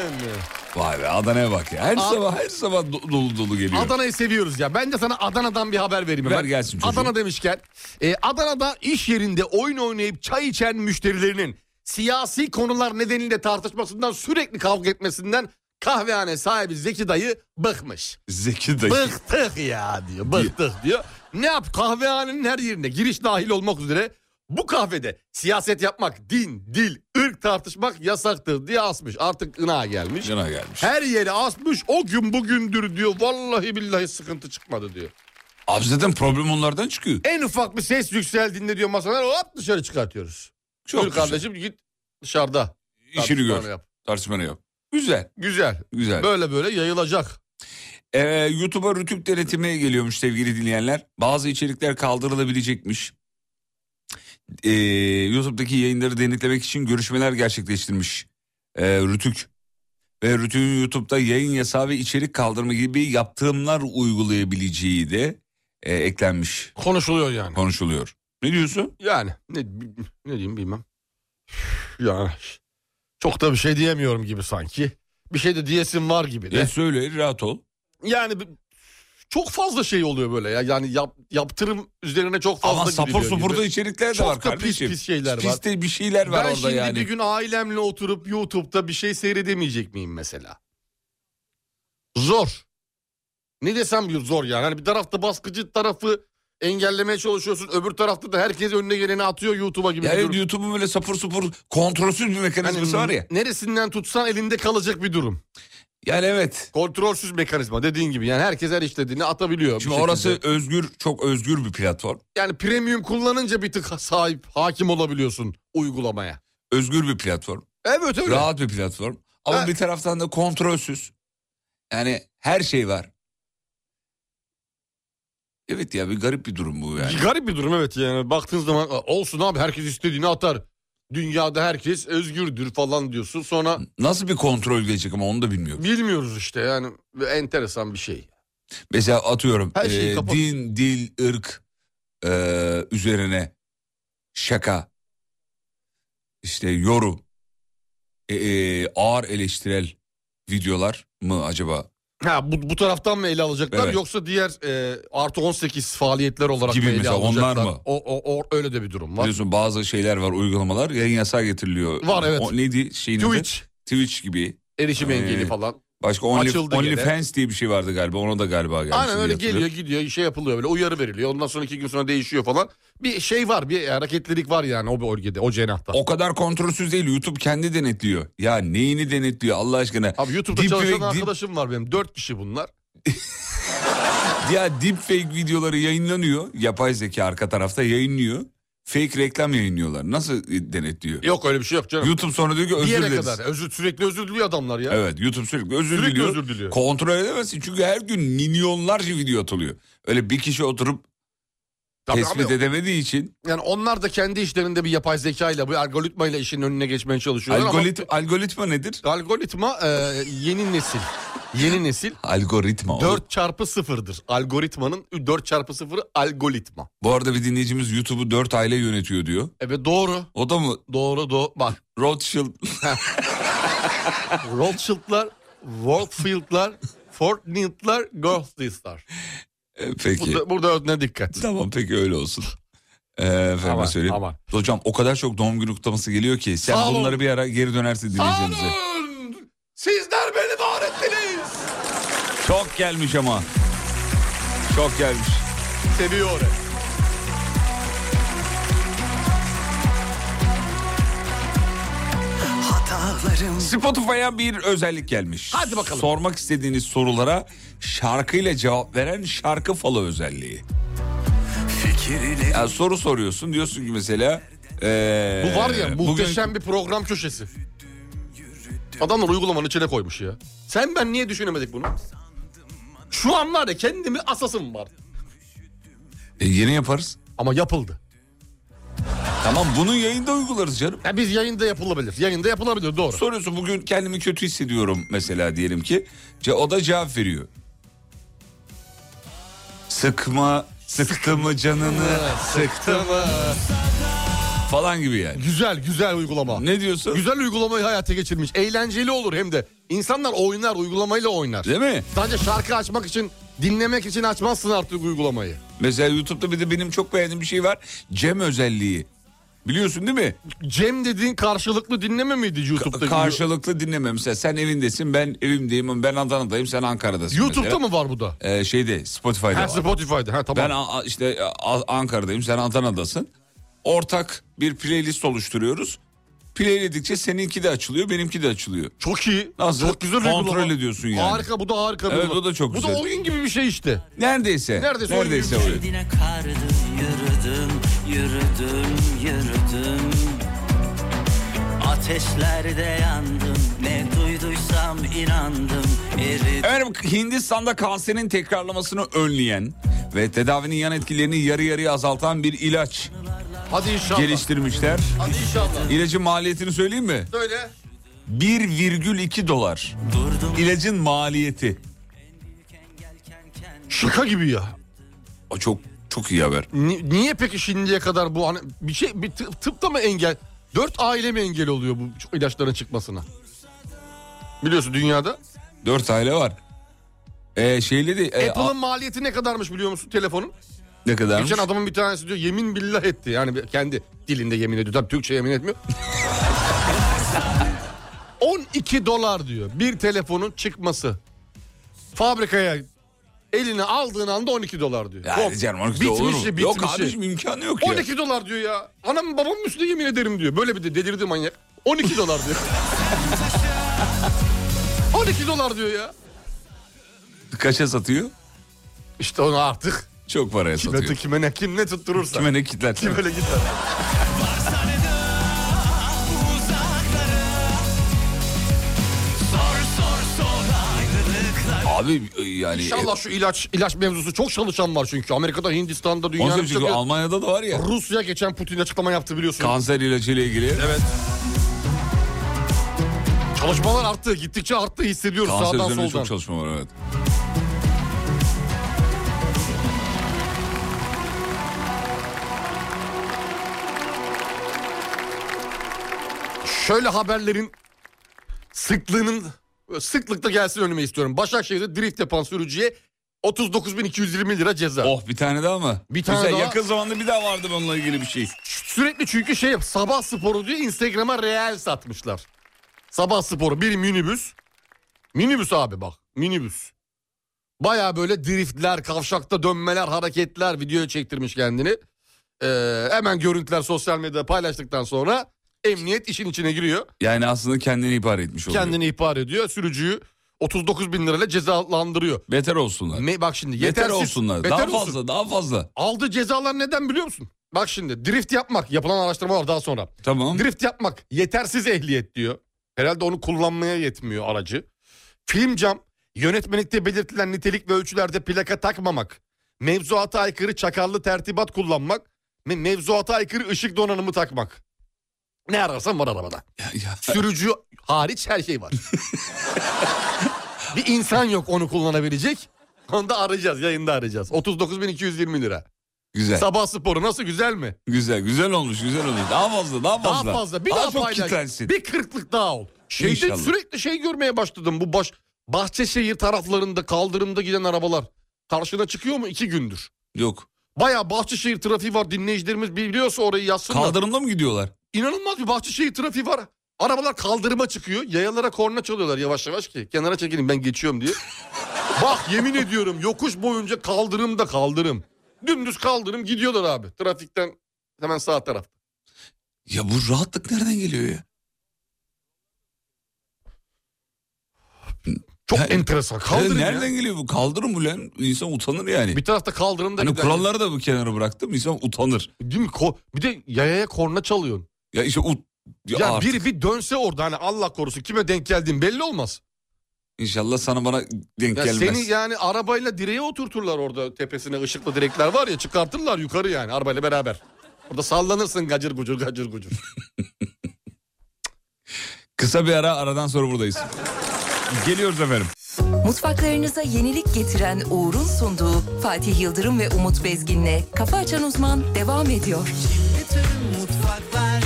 S3: Vay be Adana'ya bak ya. Her sabah her sabah do- dolu dolu geliyor.
S4: Adana'yı seviyoruz ya. Bence sana Adana'dan bir haber vereyim.
S3: Ver
S4: hemen.
S3: gelsin çocuğum.
S4: Adana demişken e, Adana'da iş yerinde oyun oynayıp çay içen müşterilerinin siyasi konular nedeniyle tartışmasından sürekli kavga etmesinden kahvehane sahibi Zeki dayı bıkmış.
S3: Zeki dayı.
S4: Bıktık ya diyor. Bıktık diyor. Ne yap? Kahvehanenin her yerinde giriş dahil olmak üzere bu kahvede siyaset yapmak, din, dil, ırk tartışmak yasaktır diye asmış. Artık ına gelmiş.
S3: Yana gelmiş.
S4: Her yere asmış o gün bugündür diyor. Vallahi billahi sıkıntı çıkmadı diyor.
S3: Abi zaten problem onlardan çıkıyor.
S4: En ufak bir ses yükseldiğinde diyor masadan hop dışarı çıkartıyoruz.
S3: Çok
S4: Buyur
S3: güzel.
S4: kardeşim git dışarıda.
S3: İşini gör.
S4: Tartışmanı yap.
S3: Tartışmanı yap. Güzel.
S4: Güzel.
S3: Güzel.
S4: Böyle böyle yayılacak.
S3: Ee, YouTube'a rütük denetimi geliyormuş sevgili dinleyenler. Bazı içerikler kaldırılabilecekmiş. Ee, YouTube'daki yayınları denetlemek için görüşmeler gerçekleştirmiş ee, rütük. Ve rütüğün YouTube'da yayın yasağı ve içerik kaldırma gibi yaptırımlar uygulayabileceği de e, eklenmiş
S4: Konuşuluyor yani.
S3: konuşuluyor. Ne diyorsun?
S4: Yani ne, ne diyeyim bilmem. Yani çok da bir şey diyemiyorum gibi sanki. Bir şey de diyesim var gibi de.
S3: E, söyle rahat ol.
S4: Yani bi- çok fazla şey oluyor böyle ya. Yani yap, yaptırım üzerine çok fazla
S3: Ama sapır
S4: gidiliyor
S3: supurda
S4: gibi.
S3: içerikler de
S4: Çok
S3: var
S4: da pis
S3: kardeşim.
S4: pis şeyler var.
S3: Pis de bir şeyler var
S4: Ben
S3: orada
S4: şimdi
S3: yani.
S4: bir gün ailemle oturup YouTube'da bir şey seyredemeyecek miyim mesela? Zor. Ne desem bir zor yani. Hani bir tarafta baskıcı tarafı engellemeye çalışıyorsun. Öbür tarafta da herkes önüne geleni atıyor YouTube'a gibi. bir durum. Hani
S3: Yani YouTube'un böyle sapır supur kontrolsüz bir mekanizması var ya.
S4: Neresinden tutsan elinde kalacak bir durum.
S3: Yani evet.
S4: Kontrolsüz mekanizma dediğin gibi. Yani herkes her işlediğini atabiliyor. bir
S3: Şimdi
S4: şekilde.
S3: orası özgür, çok özgür bir platform.
S4: Yani premium kullanınca bir tık sahip, hakim olabiliyorsun uygulamaya.
S3: Özgür bir platform.
S4: Evet öyle.
S3: Rahat bir platform. Ama
S4: Ha.
S3: bir taraftan da kontrolsüz. Yani her şey var. Evet ya bir garip bir durum bu yani.
S4: Garip bir durum evet yani. Baktığın zaman "Aa, olsun abi herkes istediğini atar. Dünyada herkes özgürdür falan diyorsun. Sonra
S3: Nasıl bir kontrol gelecek ama onu da bilmiyorum.
S4: bilmiyoruz işte yani enteresan bir şey.
S3: Mesela atıyorum
S4: Her şeyi
S3: e,
S4: kapat.
S3: din, dil, ırk e, üzerine şaka, işte yorum, e, e, ağır eleştirel videolar mı acaba
S4: Ha bu, bu taraftan mı ele alacaklar
S3: Evet.
S4: yoksa diğer e, artı 18 faaliyetler olarak
S3: Gibi
S4: mı ele
S3: mesela, onlar
S4: alacaklar?
S3: mı?
S4: O, o, o- öyle de bir durum var.
S3: Biliyorsun bazı şeyler var uygulamalar yayın yasağı getiriliyor.
S4: Var, evet.
S3: O neydi şeyin adı?
S4: Twitch.
S3: Twitch gibi.
S4: Erişim
S3: Ee,
S4: engeli falan.
S3: Başka Only,
S4: Açıldı gene.
S3: OnlyFans diye bir şey vardı galiba. Ona da galiba geldi.
S4: Aynen
S3: şimdi
S4: öyle
S3: hatırlıyorum.
S4: geliyor gidiyor şey yapılıyor böyle uyarı veriliyor. Ondan sonra iki gün sonra değişiyor falan. Bir şey var bir hareketlilik var yani o bölgede o cenahta.
S3: O kadar kontrolsüz değil. YouTube kendi denetliyor. Ya neyini denetliyor Allah aşkına?
S4: Abi YouTube'da
S3: Deep
S4: çalışan
S3: fake- deep-
S4: arkadaşım var benim. Dört kişi bunlar.
S3: Ya deepfake videoları yayınlanıyor. Yapay zeka arka tarafta yayınlıyor. Fake reklam yayınlıyorlar. Nasıl e, denetliyor?
S4: Yok öyle bir şey yok canım.
S3: YouTube sonra diyor ki
S4: Bir
S3: özür
S4: yere
S3: dileriz.
S4: kadar. Özür, sürekli özür diliyor adamlar ya.
S3: Evet YouTube sürekli özür
S4: Sürekli
S3: diliyor.
S4: özür diliyor.
S3: Kontrol edemezsin çünkü her gün milyonlarca video atılıyor. Öyle bir kişi oturup
S4: Tabii
S3: tespit
S4: ama
S3: edemediği için
S4: yani onlar da kendi işlerinde bir yapay zeka ile bu algoritma ile işin önüne geçmeye çalışıyorlar
S3: algorit- algoritma nedir?
S4: ama algoritma e, yeni nesil. Yeni nesil
S3: Algoritma.
S4: 4 çarpı sıfırdır. Algoritmanın 4 çarpı sıfırı algoritma.
S3: Bu arada bir dinleyicimiz YouTube'u 4 aile yönetiyor diyor.
S4: Evet doğru.
S3: O da mı
S4: Doğru doğru. Bak
S3: Rothschild (laughs)
S4: Rothschild'lar, Warfield'lar, Fortnite'lar, Ghostly'slar.
S3: E, Peki.
S4: Burada, burada önüne dikkat.
S3: Tamam peki öyle olsun. Ee, efendim
S4: Aman,
S3: söyleyeyim.
S4: aman.
S3: Hocam o kadar çok doğum günü kutlaması geliyor ki sen
S4: Sağ olun.
S3: bunları bir ara geri dönersin dinleyicilerimize.
S4: Tanrım! Sizler beni var ettiniz.
S3: Çok gelmiş ama. Çok gelmiş.
S4: Seviyorum.
S5: Hatalarım
S3: Spotify'a bir özellik gelmiş.
S4: Hadi bakalım.
S3: Sormak istediğiniz sorulara şarkıyla cevap veren şarkı falı özelliği.
S5: fikirlerim
S3: Yani soru soruyorsun diyorsun ki mesela... ee,
S4: Bu var ya
S3: bugün-
S4: muhteşem bir program köşesi. Adamlar uygulamanın içine koymuş ya. Sen ben niye düşünemedik bunu? Şu an var ya kendimi asasım var.
S3: E, yeni yaparız.
S4: Ama yapıldı.
S3: Tamam bunu yayında uygularız canım.
S4: Ya biz yayında yapılabilir. Yayında yapılabilir doğru.
S3: Soruyorsun bugün kendimi kötü hissediyorum mesela diyelim ki. Ce- O da cevap veriyor. Sıkma, sıktı mı
S4: (laughs)
S3: canını
S4: Sıktı mı?
S3: falan gibi yani.
S4: Güzel güzel uygulama.
S3: Ne diyorsun?
S4: Güzel uygulamayı hayata geçirmiş. Eğlenceli olur hem de. İnsanlar oynar uygulamayla oynar.
S3: Değil mi?
S4: Sadece şarkı açmak için, dinlemek için açmazsın artık uygulamayı.
S3: Mesela YouTube'da bir de benim çok beğendiğim bir şey var. Cem özelliği. Biliyorsun değil mi?
S4: Cem dediğin karşılıklı dinleme miydi YouTube'da?
S3: Karşılıklı dinleme. Mesela sen evindesin, ben evimdeyim, ben Adana'dayım, sen Ankara'dasın.
S4: YouTube'da
S3: mesela.
S4: mı var bu da?
S3: Ee, şeyde, Spotify'da
S4: Ha
S3: var.
S4: Spotify'da. Ha tamam.
S3: Ben a- a- işte a- Ankara'dayım, sen Adana'dasın. Ortak bir playlist oluşturuyoruz. Playledikçe seninki de açılıyor, benimki de açılıyor.
S4: Çok iyi.
S3: Nasıl?
S4: Çok güzel
S3: Kontrol
S4: uygulama.
S3: ediyorsun yani.
S4: Harika bu da harika. bir
S3: Evet,
S4: uygulama.
S3: o da çok
S4: Bu da
S3: güzel.
S4: oyun gibi bir şey işte.
S3: Neredeyse.
S4: Neredeyse
S3: Neredeyse
S4: oyun
S3: oluyor.
S7: Dine kardım yürüdüm yürüdüm yürüdüm Ateşlerde yandım ne duyduysam inandım eridim
S3: Efendim Hindistan'da kanserin tekrarlamasını önleyen ve tedavinin yan etkilerini yarı yarıya azaltan bir ilaç
S4: Hadi inşallah.
S3: geliştirmişler.
S4: Hadi inşallah.
S3: İlacın maliyetini söyleyeyim mi?
S4: Söyle.
S3: 1,2 dolar. İlacın maliyeti.
S4: Şaka gibi ya.
S3: O çok çok iyi haber.
S4: Ni- niye peki şimdiye kadar bu hani bir şey bir tıp, tıpta mı engel? Dört aile mi engel oluyor bu ç- ilaçların çıkmasına? Biliyorsun dünyada.
S3: 4 aile var. Ee, şeyle de e, a-
S4: Apple'ın maliyeti ne kadarmış biliyor musun telefonun?
S3: ne kadarmış?
S4: Geçen adamın bir tanesi diyor yemin billah etti. Yani bir- kendi dilinde yemin ediyor. Tabii Türkçe
S3: (laughs)
S4: yemin etmiyor. 12 dolar diyor bir telefonun çıkması. Fabrikaya eline aldığın anda 12 dolar diyor.
S3: Ya
S4: Yok,
S3: canım, on iki de
S4: bitmişi,
S3: olur mu?
S4: bitmişi.
S3: Yok abiciğim imkanı yok ya.
S4: 12 dolar diyor ya. Anam babamın üstüne yemin ederim diyor. Böyle bir de delirdi manyak. 12 dolar
S3: (laughs)
S4: diyor. 12 dolar diyor ya.
S3: Kaça satıyor?
S4: İşte onu artık
S3: Çok paraya
S4: kime,
S3: satıyor.
S4: kime ne kim ne tutturursa. (laughs)
S3: Kime ne kitler?
S4: Kim öyle gider.
S3: Abi e, yani
S4: İnşallah şu ilaç ilaç mevzusu çok çalışan var çünkü. Amerika'da, Hindistan'da,
S3: e,
S4: dünyanın
S3: Konsept çünkü
S4: birçok...
S3: Almanya'da da var ya.
S4: Rusya geçen Putin açıklama yaptı biliyorsun.
S3: Kanser ilacıyla ilgili. Evet.
S4: Çalışmalar arttı. Gittikçe arttı hissediyoruz
S3: Kanser
S4: sağdan
S3: üzerine
S4: soldan.
S3: çok çalışma var evet.
S4: Şöyle haberlerin sıklığının sıklıkla gelsin önüme istiyorum. Başakşehir'de drift yapan sürücüye 39.220 lira ceza.
S3: Oh bir tane daha mı?
S4: Bir tane
S3: Güzel,
S4: daha.
S3: Yakın zamanda bir daha vardı bununla ilgili bir şey.
S4: Sürekli çünkü şey sabah sporu diye Instagram'a reel satmışlar. Sabah sporu bir minibüs. Minibüs abi bak minibüs. Baya böyle driftler, kavşakta dönmeler, hareketler videoya çektirmiş kendini. Ee, hemen görüntüler sosyal medyada paylaştıktan sonra emniyet işin içine giriyor.
S3: Yani aslında kendini ihbar etmiş oluyor.
S4: Kendini ihbar ediyor. Sürücüyü 39 bin lirayla cezalandırıyor.
S3: Beter olsunlar.
S4: Me- bak şimdi
S3: Beter
S4: yetersiz.
S3: olsunlar.
S4: beter
S3: daha
S4: olsun.
S3: fazla, daha fazla.
S4: Aldığı cezalar neden biliyor musun? Bak şimdi drift yapmak yapılan araştırmalar daha sonra.
S3: Tamam.
S4: Drift yapmak yetersiz ehliyet diyor. Herhalde onu kullanmaya yetmiyor aracı. Film cam, yönetmelikte belirtilen nitelik ve ölçülerde plaka takmamak, mevzuata aykırı çakarlı tertibat kullanmak ve mevzuata aykırı ışık donanımı takmak. Ne ararsan var arabada.
S3: Ya,
S4: Sürücü hariç her şey var. bir insan yok onu kullanabilecek. Onu da arayacağız yayında arayacağız. 39.220 lira.
S3: güzel.
S4: Sabah sporu nasıl güzel mi?
S3: Güzel, güzel olmuş, güzel olmuş. Daha fazla, daha
S4: Daha
S3: fazla.
S4: fazla. Bir daha,
S3: çok
S4: paylaş.
S3: kitlensin.
S4: Bir kırklık daha ol. Şeyde
S3: İnşallah.
S4: sürekli şey görmeye başladım. Bu baş Bahçeşehir taraflarında kaldırımda giden arabalar. Karşına çıkıyor mu? iki gündür.
S3: Yok.
S4: Baya Bahçeşehir trafiği var. Dinleyicilerimiz biliyorsa orayı yazsınlar.
S3: Kaldırımda mı gidiyorlar?
S4: İnanılmaz bir Bahçeşehir trafiği var. Arabalar kaldırıma çıkıyor. Yayalara korna çalıyorlar yavaş yavaş ki. Kenara çekilin ben
S3: (laughs)
S4: geçiyorum diye. Bak yemin ediyorum yokuş boyunca kaldırımda kaldırım. Dümdüz kaldırım gidiyorlar abi. Trafikten hemen sağ taraf.
S3: Ya bu rahatlık nereden geliyor ya?
S4: Çok
S3: Ya-
S4: enteresan.
S3: Ya
S4: Kaldırım ya.
S3: nereden geliyor bu? Kaldırım ulan. İnsan utanır yani.
S4: Bir tarafta kaldırımda
S3: Hani
S4: giden-
S3: kuralları da bu kenara bıraktım. İnsan utanır.
S4: Değil mi? Ko- bir de yayaya korna çalıyorsun.
S3: Ya işte ut... Ya,
S4: Ya,
S3: artık.
S4: biri bir dönse orada hani Allah korusun kime denk geldiğin belli olmaz.
S3: İnşallah sana bana denk
S4: Ya
S3: gelmez.
S4: seni yani arabayla direğe oturturlar orada tepesine ışıklı direkler var ya çıkartırlar yukarı yani arabayla beraber. Orada sallanırsın gacır gucur gacır gucur.
S3: Kısa bir ara aradan sonra buradayız. Geliyoruz efendim.
S1: Mutfaklarınıza yenilik getiren Uğur'un sunduğu Fatih Yıldırım ve Umut Bezgin'le Kafa Açan Uzman devam ediyor.
S7: Bütün mutfaklar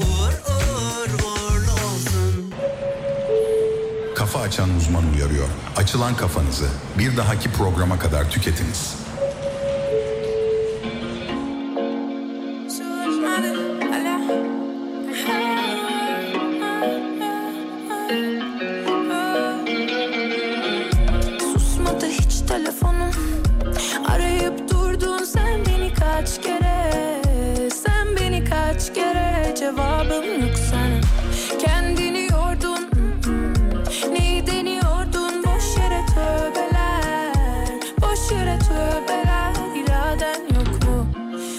S7: uğur uğur uğurlu olsun.
S8: Kafa açan uzman uyarıyor. Açılan kafanızı bir dahaki programa kadar tüketiniz.
S9: Susmadı hiç telefonum Arayıp durdun sen beni kaç kere Sen beni kaç kere cevabım yok sana Kendini yordun Neyi deniyordun boş yere tövbeler Boş yere tövbeler iraden yok mu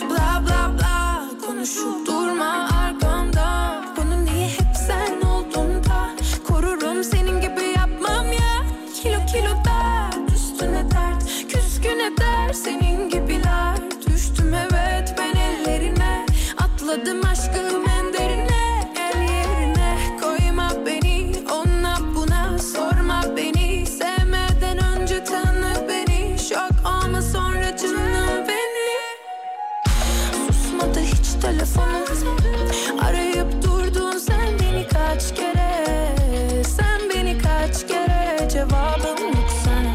S9: Bla bla bla konuşup durma arkamda Bunu niye hep sen oldun da Korurum senin gibi yapmam ya Kilo kilo dert üstüne dert Küskün eder senin gibiler Düştüm evet ben ellerine Atladım aşkım en derine El yerine koyma beni Ona buna sorma beni Sevmeden önce tanı beni Şok olma sonra canım beni Susmadı hiç telefonum Arayıp durdun sen beni kaç kere Sen beni kaç kere cevabım yok sana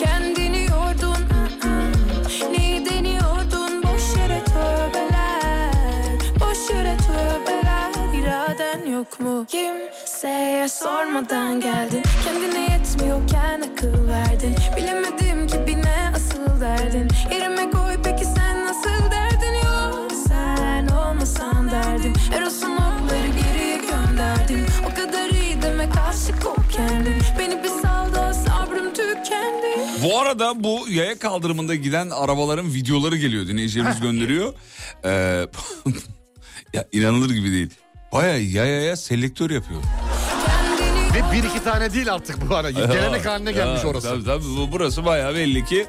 S9: Kendini yordun ı-ı. Neyi deniyordun boş yere tövbeler Boş yere tövbeler iraden yok mu Kimseye sormadan geldin Kendine yetmiyorken akıl verdin Bilemedim ki bir ne asıl derdin Yerime koy peki sen nasıl derdin Yok sen olmasan derdim Eros'un okları geriye gönderdim O kadar iyi deme karşı kop kendin Beni bir salda sabrım tükendi
S3: Bu arada bu yaya kaldırımında giden arabaların videoları geliyor. Dinleyicilerimiz gönderiyor.
S4: (laughs)
S3: Ee, (laughs) ya inanılır gibi değil. Baya yayaya selektör yapıyor.
S9: Kendini
S4: Ve (laughs) bir iki tane değil artık bu ara. Gelenek haline gelmiş
S3: Ya,
S4: orası.
S3: Tabii tabii bu- burası baya belli ki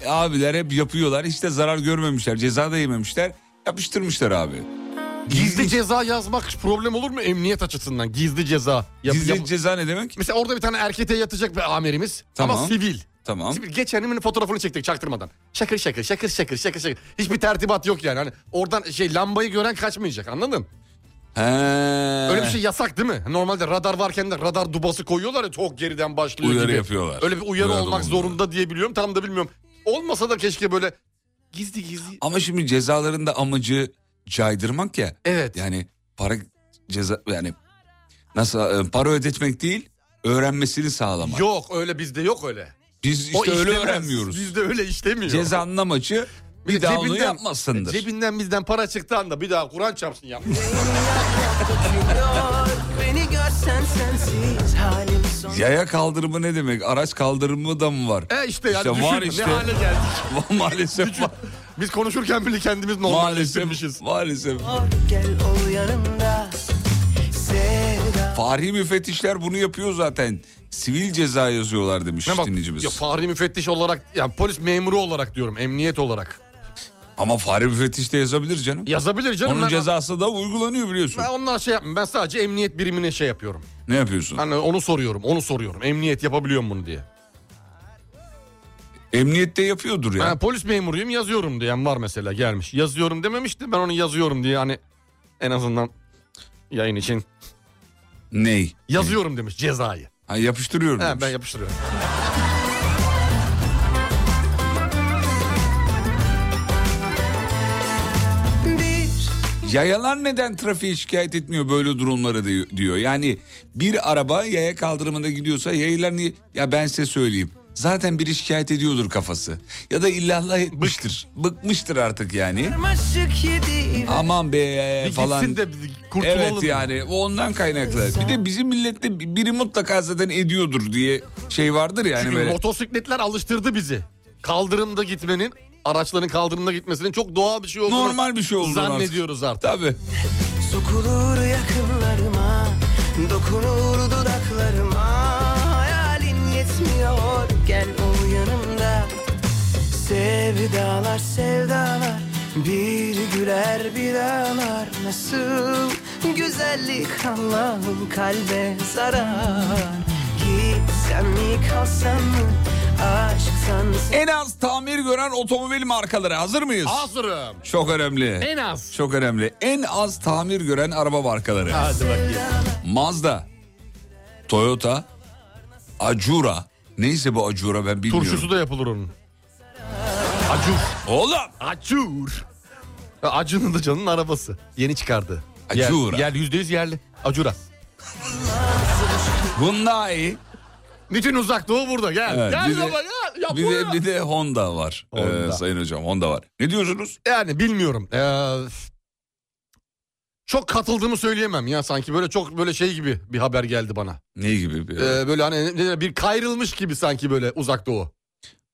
S3: e, abiler hep yapıyorlar. Hiç de zarar görmemişler. Ceza da yememişler. Yapıştırmışlar abi.
S4: Gizli ceza yazmak problem olur mu emniyet açısından? Gizli ceza. Yap-
S3: Gizli
S4: yap-
S3: ceza ne demek?
S4: Mesela orada bir tane erkete yatacak bir amirimiz. Ama
S3: Tamam.
S4: sivil.
S3: Tamam.
S4: Şimdi geçenimin fotoğrafını çektik çaktırmadan. Şakır şakır şakır şakır şakır şakır. Hiçbir tertibat yok yani. Hani oradan şey lambayı gören kaçmayacak anladın?
S3: He.
S4: Öyle bir şey yasak değil mi? Normalde radar varken de radar dubası koyuyorlar ya çok geriden başlıyor
S3: Uyarı
S4: gibi.
S3: yapıyorlar.
S4: Öyle bir uyarı
S3: Uyarı
S4: olmak
S3: bulunuyor.
S4: zorunda diye biliyorum. Tam da bilmiyorum. Olmasa da keşke böyle gizli gizli.
S3: Ama şimdi cezaların da amacı caydırmak ya.
S4: Evet.
S3: Yani para ceza yani Nasıl e, para ödetmek değil öğrenmesini sağlamak.
S4: Yok öyle bizde yok öyle.
S3: Biz işte öyle
S4: işlemez.
S3: öğrenmiyoruz.
S4: Bizde öyle işlemiyor.
S3: Cezanın amacı bir daha onu yapmasındır.
S4: Cebinden bizden para çıktı anda bir daha Kur'an
S3: (laughs)
S4: çarpsın ya.
S7: Beni görsen sensiz halim son
S3: Yaya kaldırımı ne demek? Araç kaldırımı da mı var?
S4: e işte yani düşün,
S3: var
S4: ne hale geldik.
S3: maalesef (laughs) var.
S4: Biz konuşurken bile kendimiz normalleştirmişiz.
S3: Maalesef. Maalesef.
S7: gel ol yanımda Sevda
S3: Fahri müfettişler bunu yapıyor zaten. Sivil ceza yazıyorlar demiş
S4: Ne bak,
S3: dinleyicimiz.
S4: ya fahri müfettiş olarak yani polis memuru olarak diyorum emniyet olarak.
S3: Ama fahri müfettiş de yazabilir canım.
S4: Yazabilir canım.
S3: Onun
S4: ben,
S3: cezası da uygulanıyor biliyorsun.
S4: ben onlar şey yapmıyorum. Ben sadece emniyet birimine şey yapıyorum.
S3: Ne yapıyorsun?
S4: Hani onu soruyorum, onu soruyorum. Emniyet yapabiliyor mu bunu diye.
S3: Emniyette yapıyordur ya.
S4: Ben polis memuruyum yazıyorum diyen var mesela gelmiş. Yazıyorum dememişti ben onu yazıyorum diye hani en azından yayın için.
S3: Ney?
S4: Yazıyorum demiş cezayı.
S3: Ha, yapıştırıyorum
S4: He,
S3: demiş.
S4: ben yapıştırıyorum.
S3: Yayalar neden trafiğe şikayet etmiyor böyle durumlara diyor- diyor. Yani bir araba yaya kaldırımında gidiyorsa yayalar niye? Ya ben size söyleyeyim. Zaten biri şikayet ediyordur kafası. Ya da illallah etmiştir. Bıkmıştır artık yani.
S7: Maşık yedi
S3: Aman
S4: Bir
S3: be
S4: gitsin
S3: E falan.
S4: de bir kurtulalım.
S3: Evet yani o ondan kaynaklı. Bir de bizim millette biri mutlaka zaten ediyordur diye şey vardır yani
S4: Çünkü
S3: böyle.
S4: motosikletler alıştırdı bizi. Kaldırımda gitmenin, araçların kaldırımda gitmesinin çok doğal bir şey olduğunu
S3: Normal bir şey olduğunu artık.
S4: zannediyoruz artık.
S3: Tabii.
S7: Sokulur yakınlarıma Dokunur dudaklarıma Hayalin yetmiyor Gel ol yanımda Sevdalar sevdalar Bir güler bir ağlar Nasıl güzellik Allah'ım kalbe zarar Gitsem mi kalsam mı Aşktan
S3: En az tamir gören otomobil markaları hazır mıyız?
S4: Hazırım.
S3: Çok önemli.
S4: En az.
S3: Çok önemli. En az tamir gören araba markaları.
S4: Hadi bakayım.
S3: Mazda, Toyota, Acura. Neyse bu Acura ben bilmiyorum.
S4: Turşusu da yapılır onun. Acur.
S3: Oğlum.
S4: Acur. Ya Acun'un da canının arabası. Yeni çıkardı.
S3: Acura.
S4: Yer, yüzde yüz yerli. Acura.
S3: Hyundai.
S4: Bütün uzak doğu burada. Gel.
S3: Evet,
S4: gel
S3: bir de-
S4: baba gel. Ya
S3: Bir
S4: bu
S3: de,
S4: ya.
S3: bir de Honda var. Ee,
S4: Honda.
S3: sayın hocam Honda var. Ne diyorsunuz?
S4: Yani bilmiyorum. Ee, çok katıldığımı söyleyemem ya sanki böyle çok böyle şey gibi bir haber geldi bana.
S3: Ne gibi? Bir,
S4: Ee, böyle hani ne denir, bir kayrılmış gibi sanki böyle uzak doğu.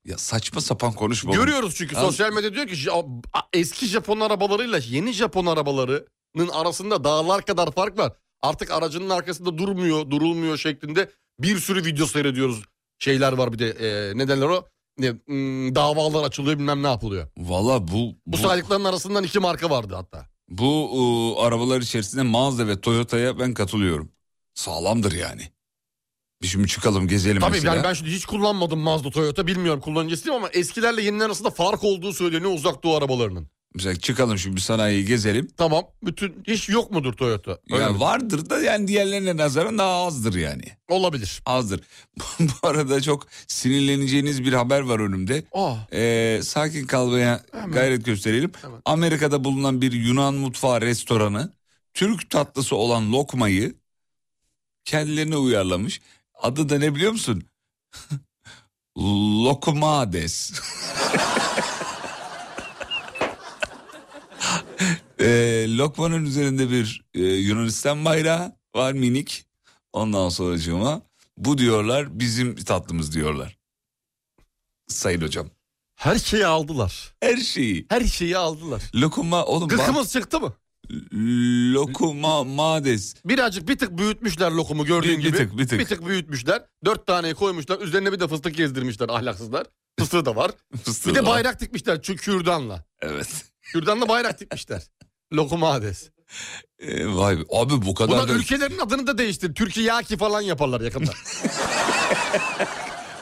S3: ya saçma sapan konuşma. oğlum.
S4: Görüyoruz çünkü
S3: Abi-
S4: sosyal medya diyor ki "Ja- a- eski Japon arabalarıyla yeni Japon arabalarının arasında dağlar kadar fark var. Artık aracının arkasında durmuyor, durulmuyor şeklinde bir sürü video seyrediyoruz. Şeyler var bir de e, ne derler o? Ne, hmm, davalar açılıyor bilmem ne yapılıyor.
S3: Valla bu
S4: Bu,
S3: bu,
S4: saydıkların arasından iki marka vardı hatta.
S3: bu, ıı, arabalar içerisinde Mazda ve Toyota'ya ben katılıyorum. Sağlamdır yani. Bir şimdi çıkalım gezelim
S4: Tabii
S3: mesela.
S4: yani ben şimdi hiç kullanmadım Mazda Toyota bilmiyorum kullanıcısıyım ama eskilerle yeniler arasında fark olduğu söyleniyor uzak doğu arabalarının.
S3: Mesela çıkalım şimdi sanayiyi gezelim.
S4: Tamam bütün hiç yok mudur Toyota? Öyle
S3: Ya
S4: mi?
S3: vardır da yani diğerlerine nazaran daha azdır yani.
S4: Olabilir.
S3: Azdır. (laughs) Bu arada çok sinirleneceğiniz bir haber var önümde.
S4: Aa.
S3: Ee, sakin kalmaya gayret gösterelim.
S4: Hemen.
S3: Amerika'da bulunan bir Yunan mutfağı restoranı Türk tatlısı olan lokmayı kendilerine uyarlamış. Adı da ne biliyor musun? (laughs) Lokmades. (laughs) Ee, lokmanın üzerinde bir e, Yunanistan bayrağı var minik. Ondan sonracığıma bu diyorlar bizim tatlımız diyorlar. Sayın hocam.
S4: Her şeyi aldılar.
S3: Her şeyi.
S4: Her şeyi aldılar.
S3: Lokuma oğlum. bak-
S4: Gıkımız çıktı mı?
S3: Lokuma mades.
S4: Birazcık bir tık büyütmüşler lokumu gördüğün
S3: Bir- bir
S4: gibi.
S3: tık, bir tık.
S4: büyütmüşler. Dört taneyi koymuşlar. Üzerine bir de fıstık gezdirmişler ahlaksızlar. Fıstığı da var.
S3: Fıstığı
S4: bir de
S3: var.
S4: bayrak dikmişler çünkü kürdanla.
S3: Evet.
S4: Kürdanla bayrak dikmişler. Lokum ades.
S3: Ee, vay be. Abi bu kadar
S4: Bunlar
S3: da,
S4: ülkelerin adını da değiştir. Türkiye yaki falan
S3: (laughs)
S4: yaparlar yakında.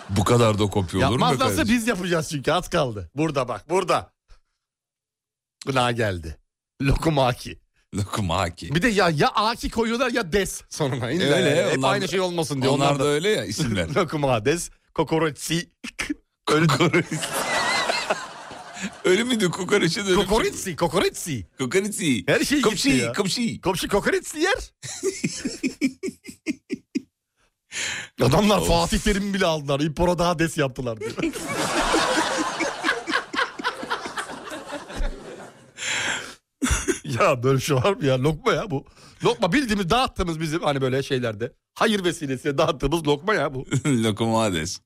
S3: bu kadar da kopya olur mu? be
S4: Yapmazlarsa
S3: kardeşim?
S4: biz yapacağız çünkü az kaldı. Burada bak burada. Gına geldi. Lokum aki.
S3: Lokuma haki.
S4: Bir de ya ya aki koyuyorlar ya des sonuna. İlla
S3: Öyle,
S4: yani. Hep
S3: onlar
S4: aynı
S3: da-
S4: şey olmasın diye.
S3: Onlar, da, öyle ya
S4: (laughs)
S3: isimler.
S4: Lokumades, kokoreçi,
S3: Kokoreç. Ölü müydü kokoreçin ölü
S4: kokoreçi, kokoreçi.
S3: Kokoreçi.
S4: Her şey
S3: (laughs)
S4: gitti
S3: Kopşi,
S4: ya. (laughs)
S3: kopşi.
S4: Komşu kokoreçli yer. Adamlar Fatih Terim'i bile aldılar. İmpora daha des yaptılar (laughs) diyor. ya böyle bir şey var mı ya? Lokma ya bu. Lokma bildiğimiz dağıttığımız bizim hani böyle şeylerde. Hayır vesilesiyle dağıttığımız lokma ya bu.
S3: Lokomades.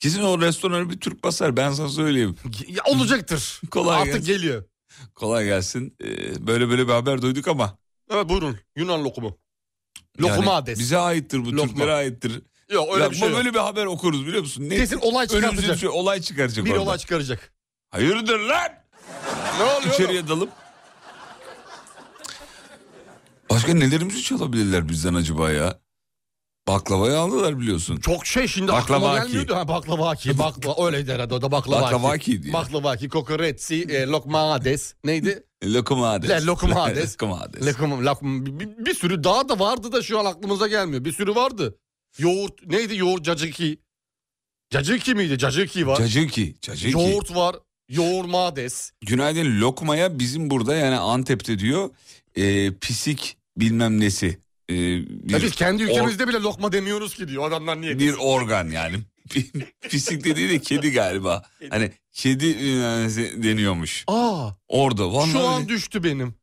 S3: Kesin o restorana bir Türk basar ben sana söyleyeyim.
S4: Ya (laughs) olacaktır.
S3: Kolay
S4: Artık
S3: gelsin.
S4: geliyor.
S3: Kolay gelsin. Ee, böyle böyle bir haber duyduk ama.
S4: Evet buyurun Yunan lokumu.
S3: yani
S4: Lokuma ades.
S3: Bize aittir bu
S4: Lokma.
S3: Türklere aittir.
S4: Yok öyle
S3: Ya
S4: bir şey
S3: bu
S4: yok.
S3: böyle bir haber okuruz biliyor musun? Ne?
S4: Kesin
S3: (laughs)
S4: olay
S3: Önümüzde
S4: çıkartacak.
S3: şey- olay çıkaracak
S4: Bir
S3: orada.
S4: olay çıkaracak.
S3: Hayırdır lan?
S4: Ne oluyor?
S3: İçeriye dalıp. Başka nelerimizi çalabilirler bizden acaba ya? Baklavayı aldılar biliyorsun.
S4: Çok şey şimdi
S3: Baklava
S4: aklıma
S3: aki.
S4: gelmiyordu. Ha, baklava ki, bakla, öyleydi herhalde o da baklava
S3: Baklava
S4: aki.
S3: aki diye.
S4: Baklava ki, kokoreçsi, e, lokma ades. Neydi?
S3: Lokumades. (laughs)
S4: Le- lokumades.
S3: Lokumades.
S4: Lokum, lokum, bi- bi- bir, sürü daha da vardı da şu an aklımıza gelmiyor. Bir sürü vardı. Yoğurt, neydi yoğurt cacıki? Cacıki miydi? Cacıki var.
S3: Cacıki. Cacıki.
S4: yoğurt var. Yoğurmades.
S3: Günaydın lokmaya bizim burada yani Antep'te diyor e, pisik bilmem nesi. E, bir,
S4: Ya biz kendi
S3: or-
S4: ülkemizde bile lokma demiyoruz ki diyor adamlar niye?
S3: bir organ yani. (laughs) pisik dediği de kedi galiba. Hani kedi e, deniyormuş.
S4: Aa,
S3: Orada. Vallahi hani
S4: şu an
S3: öyle.
S4: düştü benim.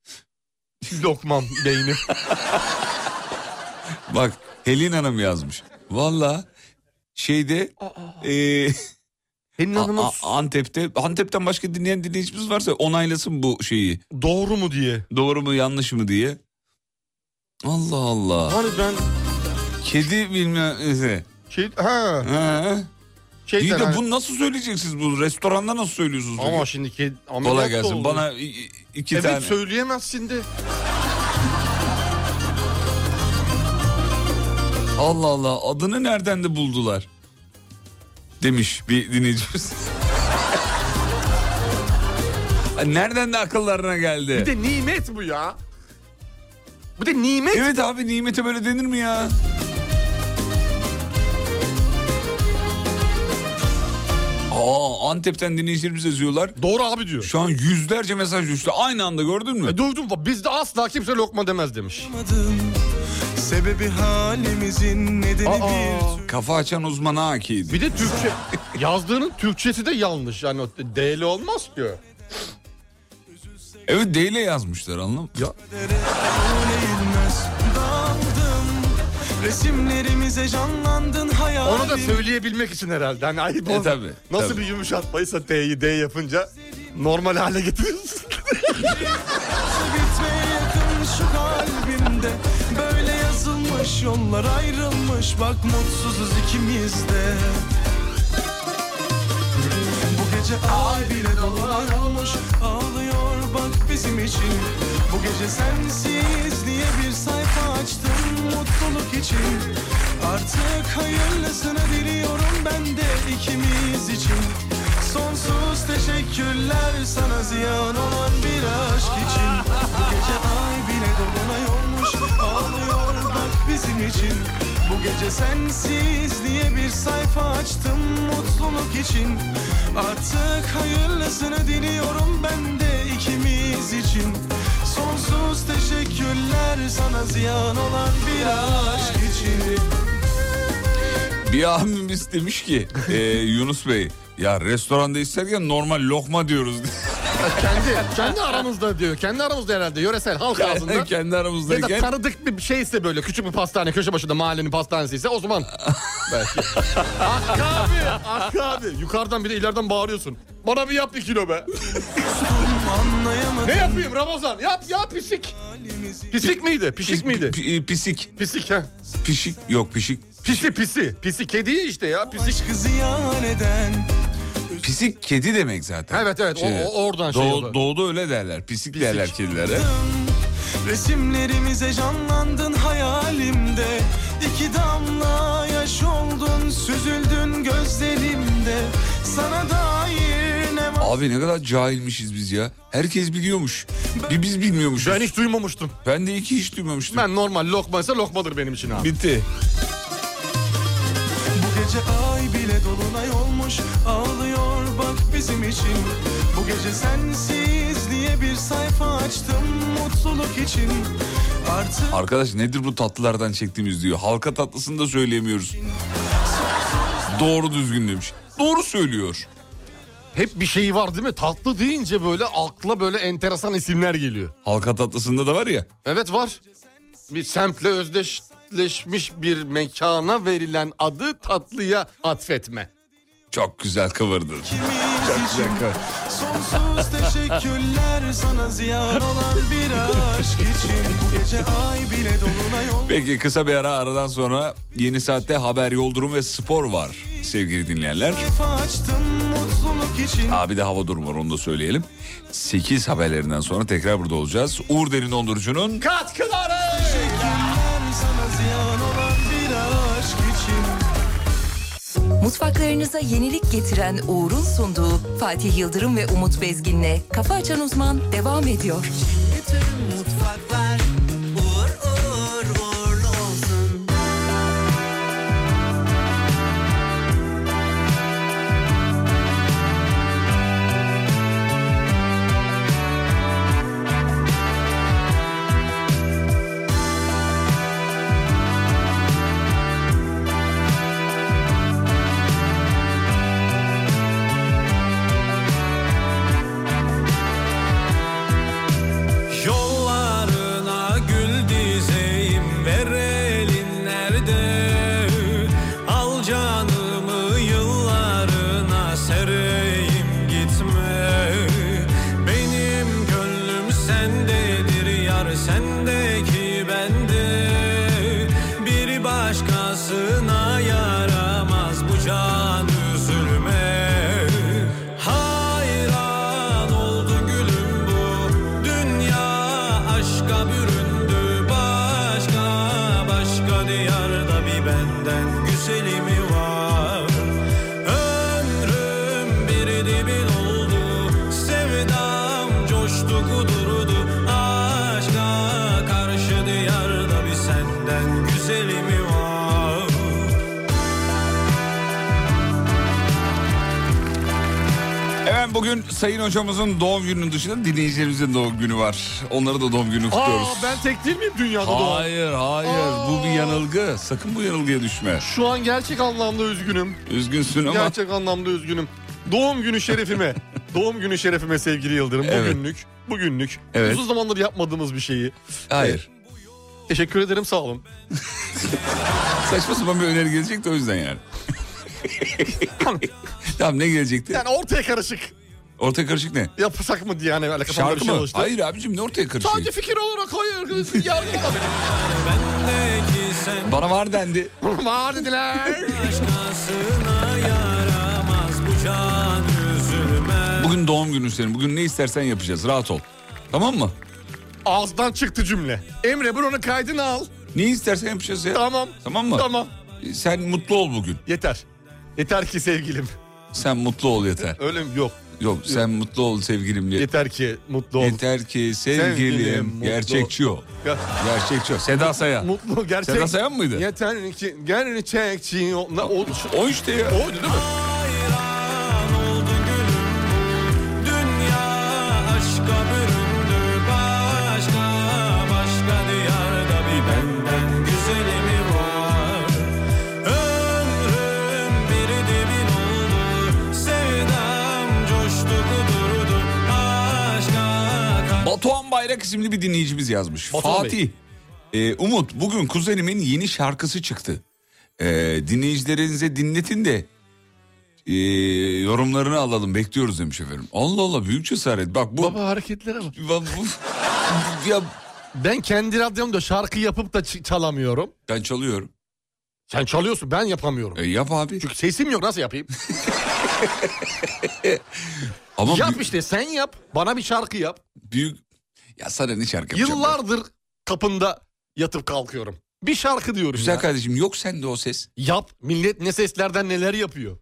S4: (laughs) Lokmam beynim.
S3: Bak Helin Hanım yazmış. Valla şeyde
S4: (laughs)
S3: e,
S4: Senin
S3: A-
S4: hanımın
S3: A- Antep'te Antep'ten başka dinleyen dinleyicimiz varsa onaylasın bu şeyi.
S4: doğru mu diye.
S3: Doğru mu yanlış mı diye. Allah Allah.
S4: Hani ben
S3: Kedi bilmem nesi.
S4: şey ha
S3: Ha.
S4: şey
S3: İyi de bunu nasıl söyleyeceksiniz bu restoranda nasıl söylüyorsunuz? bunu?
S4: ama şimdi ki ameliyat
S3: Kolay
S4: da
S3: gelsin.
S4: oldu.
S3: Bana i- i- iki
S4: evet
S3: tane.
S4: söyleyemezsin de.
S3: Allah Allah adını nereden de buldular? Demiş bir dinleyicimiz. (laughs) nereden de akıllarına geldi?
S4: Bir de nimet bu ya. Bu da nimet.
S3: Evet abi nimete böyle denir mi ya? Aa Antep'ten dinleyicilerimiz yazıyorlar.
S4: Doğru abi diyor.
S3: Şu an yüzlerce mesaj düştü. Aynı anda gördün mü?
S4: E, duydum bizde asla kimse lokma demez demiş.
S10: Sebebi halimizin nedeni
S4: Aa.
S10: bir
S3: Kafa açan uzmana akiydi.
S4: Bir de Türkçe (laughs) yazdığının Türkçesi de yanlış. Yani o DL olmaz ki. o.
S3: Evet D ile yazmışlar anlam.
S4: Ya
S10: eğilmez Daldım resimlerimize canlandın hayal
S4: onu da söyleyebilmek için herhalde. Hani ayıp
S3: E,
S4: olmaz.
S3: tabii,
S4: Nasıl
S3: tabii.
S4: bir yumuşatmaysa T'yi D yapınca normal hale getiriyorsun.
S10: bitmeye yakın şu kalbimde Böyle yazılmış yollar ayrılmış Bak mutsuzuz ikimiz de Bu gece ay bile dolar olmuş Ağlıyor bak bizim için Bu gece sensiz diye bir sayfa açtım mutluluk için Artık hayırlısını diliyorum ben de ikimiz için Sonsuz teşekkürler sana ziyan olan bir aşk için Bu gece ay bile dolunay olmuş Ağlıyor bak bizim için Bu gece sensiz diye bir sayfa açtım mutluluk için Artık hayırlısını diliyorum ben de ikimiz için Sonsuz teşekkürler sana ziyan olan bir aşk için
S3: Bir abimiz demiş ki e, Yunus Bey ya restoranda isterken normal lokma diyoruz. (laughs)
S4: kendi kendi aramızda diyor. Kendi aramızda herhalde yöresel halk ağzında.
S3: Kendi
S4: Ya da
S3: aramızdayken.
S4: tanıdık bir şeyse böyle küçük bir pastane köşe başında mahallenin pastanesi ise o zaman belki. Hakkı abi, Hakkı abi. Yukarıdan bir de ileriden bağırıyorsun. Bana bir yap bir kilo be.
S10: Anlayamadım
S4: Ne yapayım Ramazan? Yap yap pisik.
S10: halimizi
S4: Pisik miydi? Pişik miydi?
S3: Pi- e, pisik.
S4: Pisik ha.
S3: Pişik yok pişik.
S4: Pisi pisi. Pisi kedi işte ya. Pisik.
S10: Aşkı ziyan eden
S3: Pisik kedi demek zaten.
S4: Evet, evet, o- o- oradan şey
S3: Doğu-
S4: oluyor.
S3: Doğuda öyle derler. Pisik, derler kedilere.
S10: Resimlerimize canlandın hayalimde İki damla yaş oldun süzüldün gözlerimde Sana dair ne var
S3: Abi ne kadar cahilmişiz biz ya. Herkes biliyormuş. Bir biz bilmiyormuşuz.
S4: Ben
S3: Ben,
S4: hiç duymamıştım.
S3: de iki hiç duymamıştım.
S4: Ben normal lokmaysa lokmadır benim için abi.
S3: Bitti.
S10: Bu gece ay bile dolunay olmuş Ağlıyor bak bizim için Bu gece sensiz diye bir sayfa açtım mutluluk için Artık
S3: Arkadaş nedir bu tatlılardan çektiğimiz diyor. Halka tatlısını da söyleyemiyoruz. Doğru düzgün demiş. Doğru söylüyor.
S4: Hep bir şey var değil mi? Tatlı deyince böyle akla böyle enteresan isimler geliyor.
S3: Halka tatlısında da var ya.
S4: Evet var. Bir semtle özdeşleşmiş bir mekana verilen adı tatlıya atfetme.
S3: Çok güzel kıvırdın. Çok güzel kıvırdın.
S2: Sonsuz teşekkürler sana ziyan olan bir aşk için Bu gece ay bile dolunay oldu
S3: Peki kısa bir ara aradan sonra yeni saatte haber, yol durum ve spor var sevgili dinleyenler.
S2: açtım mutluluk için
S3: Abi de hava durumu var onu da söyleyelim. 8 haberlerinden sonra tekrar burada olacağız. Uğur Derin Dondurucu'nun
S4: Katkıları!
S2: Teşekkürler sana ziyan olan bir aşk için
S1: Mutfaklarınıza yenilik getiren Uğur'un sunduğu Fatih Yıldırım ve Umut Bezgin'le Kafa Açan Uzman devam ediyor.
S2: mutfaklar uğur uğur uğurlu olsun. Yollarına gül dizeyim verelim nerede? Al canımı yıllarına sereyim gitme. Benim gönlüm sendedir yar sendeki bende. Bir başkasına yaramaz bu can üzülme. Hayran oldu gülüm bu dünya aşka büründü başka başka diyarda bir benden güzeli mi var? Ömrüm bir dibin oldu sevdam coştu kudurdu aşka karşı diyarda bir senden güzeli mi var?
S3: Evet bugün Sayın Hocamızın doğum gününün dışında dinleyicilerimizin doğum günü var. Onları da doğum günü kutluyoruz.
S4: Aa ben tek değil miyim dünyada doğan?
S3: Hayır hayır
S4: Aa.
S3: bu bir yanılgı. Sakın bu yanılgıya düşme.
S4: Şu an gerçek anlamda üzgünüm.
S3: Üzgünsün ama
S4: Gerçek anlamda üzgünüm. Doğum günü (laughs) şerefime. doğum günü şerefime sevgili Yıldırım.
S3: Evet.
S4: Bugünlük, bugünlük.
S3: Evet.
S4: Uzun zamandır yapmadığımız bir şeyi.
S3: hayır.
S4: Teşekkür ederim sağ (laughs) olun.
S3: Saçma sapan bir öneri gelecekti o yüzden yani. tamam ne gelecekti?
S4: Yani ortaya karışık
S3: Ortaya karışık ne?
S4: yapsak mı diye hani öyle kafamda bir
S3: Şarkı
S4: şey
S3: mı?
S4: oluştu.
S3: Hayır şey. abicim ne ortaya karışık?
S4: Sadece fikir olarak hayır. Yargı olabilir.
S2: Peki sen
S3: Bana var
S4: (laughs)
S3: dendi.
S4: Var dediler.
S2: başkasına yaramaz bu can üzülme.
S3: Bugün doğum günün senin. Bugün ne istersen yapacağız. Rahat ol. Tamam mı?
S4: Ağızdan çıktı cümle. Emre bunu kaydını al.
S3: Ne istersen yapacağız ya.
S4: Tamam.
S3: Tamam mı?
S4: Tamam.
S3: Sen mutlu ol bugün.
S4: Yeter. Yeter ki sevgilim.
S3: Sen mutlu ol yeter.
S4: Öyle mi? Yok.
S3: Yok sen mutlu ol sevgilim. diye.
S4: Yeter ki mutlu ol.
S3: Yeter ki sevgilim,
S4: Sevgilim, mutlu-
S3: gerçekçi o.
S4: Ya-
S3: Gerçekçi o. Seda Sayan.
S4: Mutlu gerçek.
S3: Seda Sayan mıydı?
S4: Yeter ki gerçekçi. O, na- o, şu-
S3: O işte ya.
S4: o değil mi?
S2: Hayran oldu gülüm bu dünya aşka büründü başka başka diyarda bir benden güzeli mi var? Ömrüm bir dibin oldu sevdam coştu kudurdu aşka
S3: Batuhan Bayrak isimli bir dinleyicimiz yazmış.
S4: Batuhan
S3: Fatih. e, Umut bugün kuzenimin yeni şarkısı çıktı. E, dinleyicilerinize dinletin de e, yorumlarını alalım bekliyoruz demiş efendim. Allah Allah büyük cesaret. Bak bu...
S4: Baba hareketlere bak.
S3: Ya bu- ya
S4: Ben kendi radyomda şarkı yapıp da ç- çalamıyorum.
S3: ben çalıyorum.
S4: Sen çalıyorsun ben yapamıyorum.
S3: E, yap abi.
S4: Çünkü sesim yok nasıl yapayım?
S3: Ama
S4: yap
S3: büyük,
S4: işte sen yap. Bana bir şarkı yap.
S3: büyük- Ya sana ne şarkı yapacağım ben?
S4: Yıllardır kapında yatıp kalkıyorum. Bir şarkı diyorum
S3: Güzel
S4: ya.
S3: kardeşim yok sende o ses.
S4: Yap. Millet ne seslerden neler yapıyor.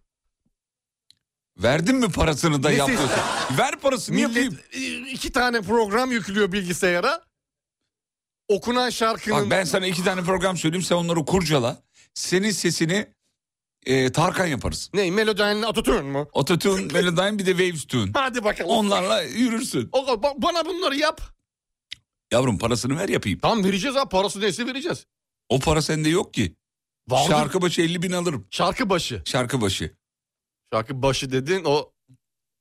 S3: Verdin mi parasını da
S4: Ne
S3: yap
S4: ses-
S3: diyorsun. Ver parasını yapayım.
S4: Millet e, iki tane program yüklüyor bilgisayara. Okunan şarkının...
S3: Bak ben sana iki tane program söyleyeyim sen onları kurcala. Senin sesini e, Tarkan yaparız.
S4: Ne Melodyne'le Atatürk mü?
S3: Autotune,
S4: (laughs)
S3: Melodyne bir de Waves Tune.
S4: Hadi bakalım.
S3: Onlarla yürürsün.
S4: O- ba- bana bunları yap.
S3: Yavrum parasını ver yapayım.
S4: Tamam vereceğiz ha parası neyse vereceğiz.
S3: O para sende yok ki.
S4: Vardır.
S3: Şarkı başı 50 bin alırım.
S4: Şarkı başı.
S3: Şarkı başı.
S4: Şarkı başı dedin o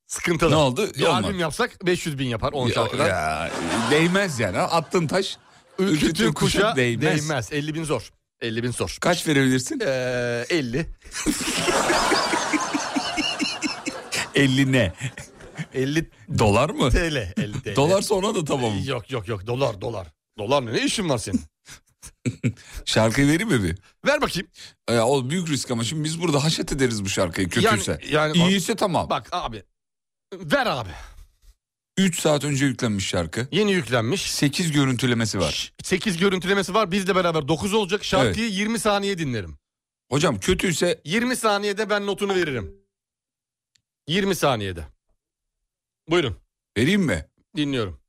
S4: sıkıntılı.
S3: Ne oldu?
S4: Bir
S3: Olmadı.
S4: albüm yapsak 500 bin yapar 10
S3: Ya-
S4: şarkıdan.
S3: ya, değmez yani. Attığın taş
S4: Ürkütür
S3: ürkütür
S4: kuşa değmez. 50 bin zor. 50 bin zor.
S3: Kaç verebilirsin?
S4: Ee, 50.
S3: 50
S4: (laughs)
S3: ne?
S4: 50
S3: Dolar mı?
S4: TL. (laughs) 50 TL.
S3: Dolarsa ona da tamam.
S4: Yok yok yok dolar dolar. Dolar ne? Ne işin var senin?
S3: Şarkıyı vereyim mi bir?
S4: (laughs) Ver bakayım.
S3: E, o büyük risk ama şimdi biz burada haşet ederiz bu şarkıyı kötüyse.
S4: Yani, yani bak-
S3: İyiyse tamam.
S4: bak abi. Ver abi.
S3: 3 saat önce yüklenmiş şarkı.
S4: Yeni yüklenmiş.
S3: 8 görüntülemesi var.
S4: 8 görüntülemesi var. Bizle beraber 9 olacak. Şarkıyı 20 saniye dinlerim.
S3: Hocam kötüyse
S4: 20 saniyede ben notunu veririm. 20 saniyede. Buyurun
S3: vereyim mi?
S4: dinliyorum.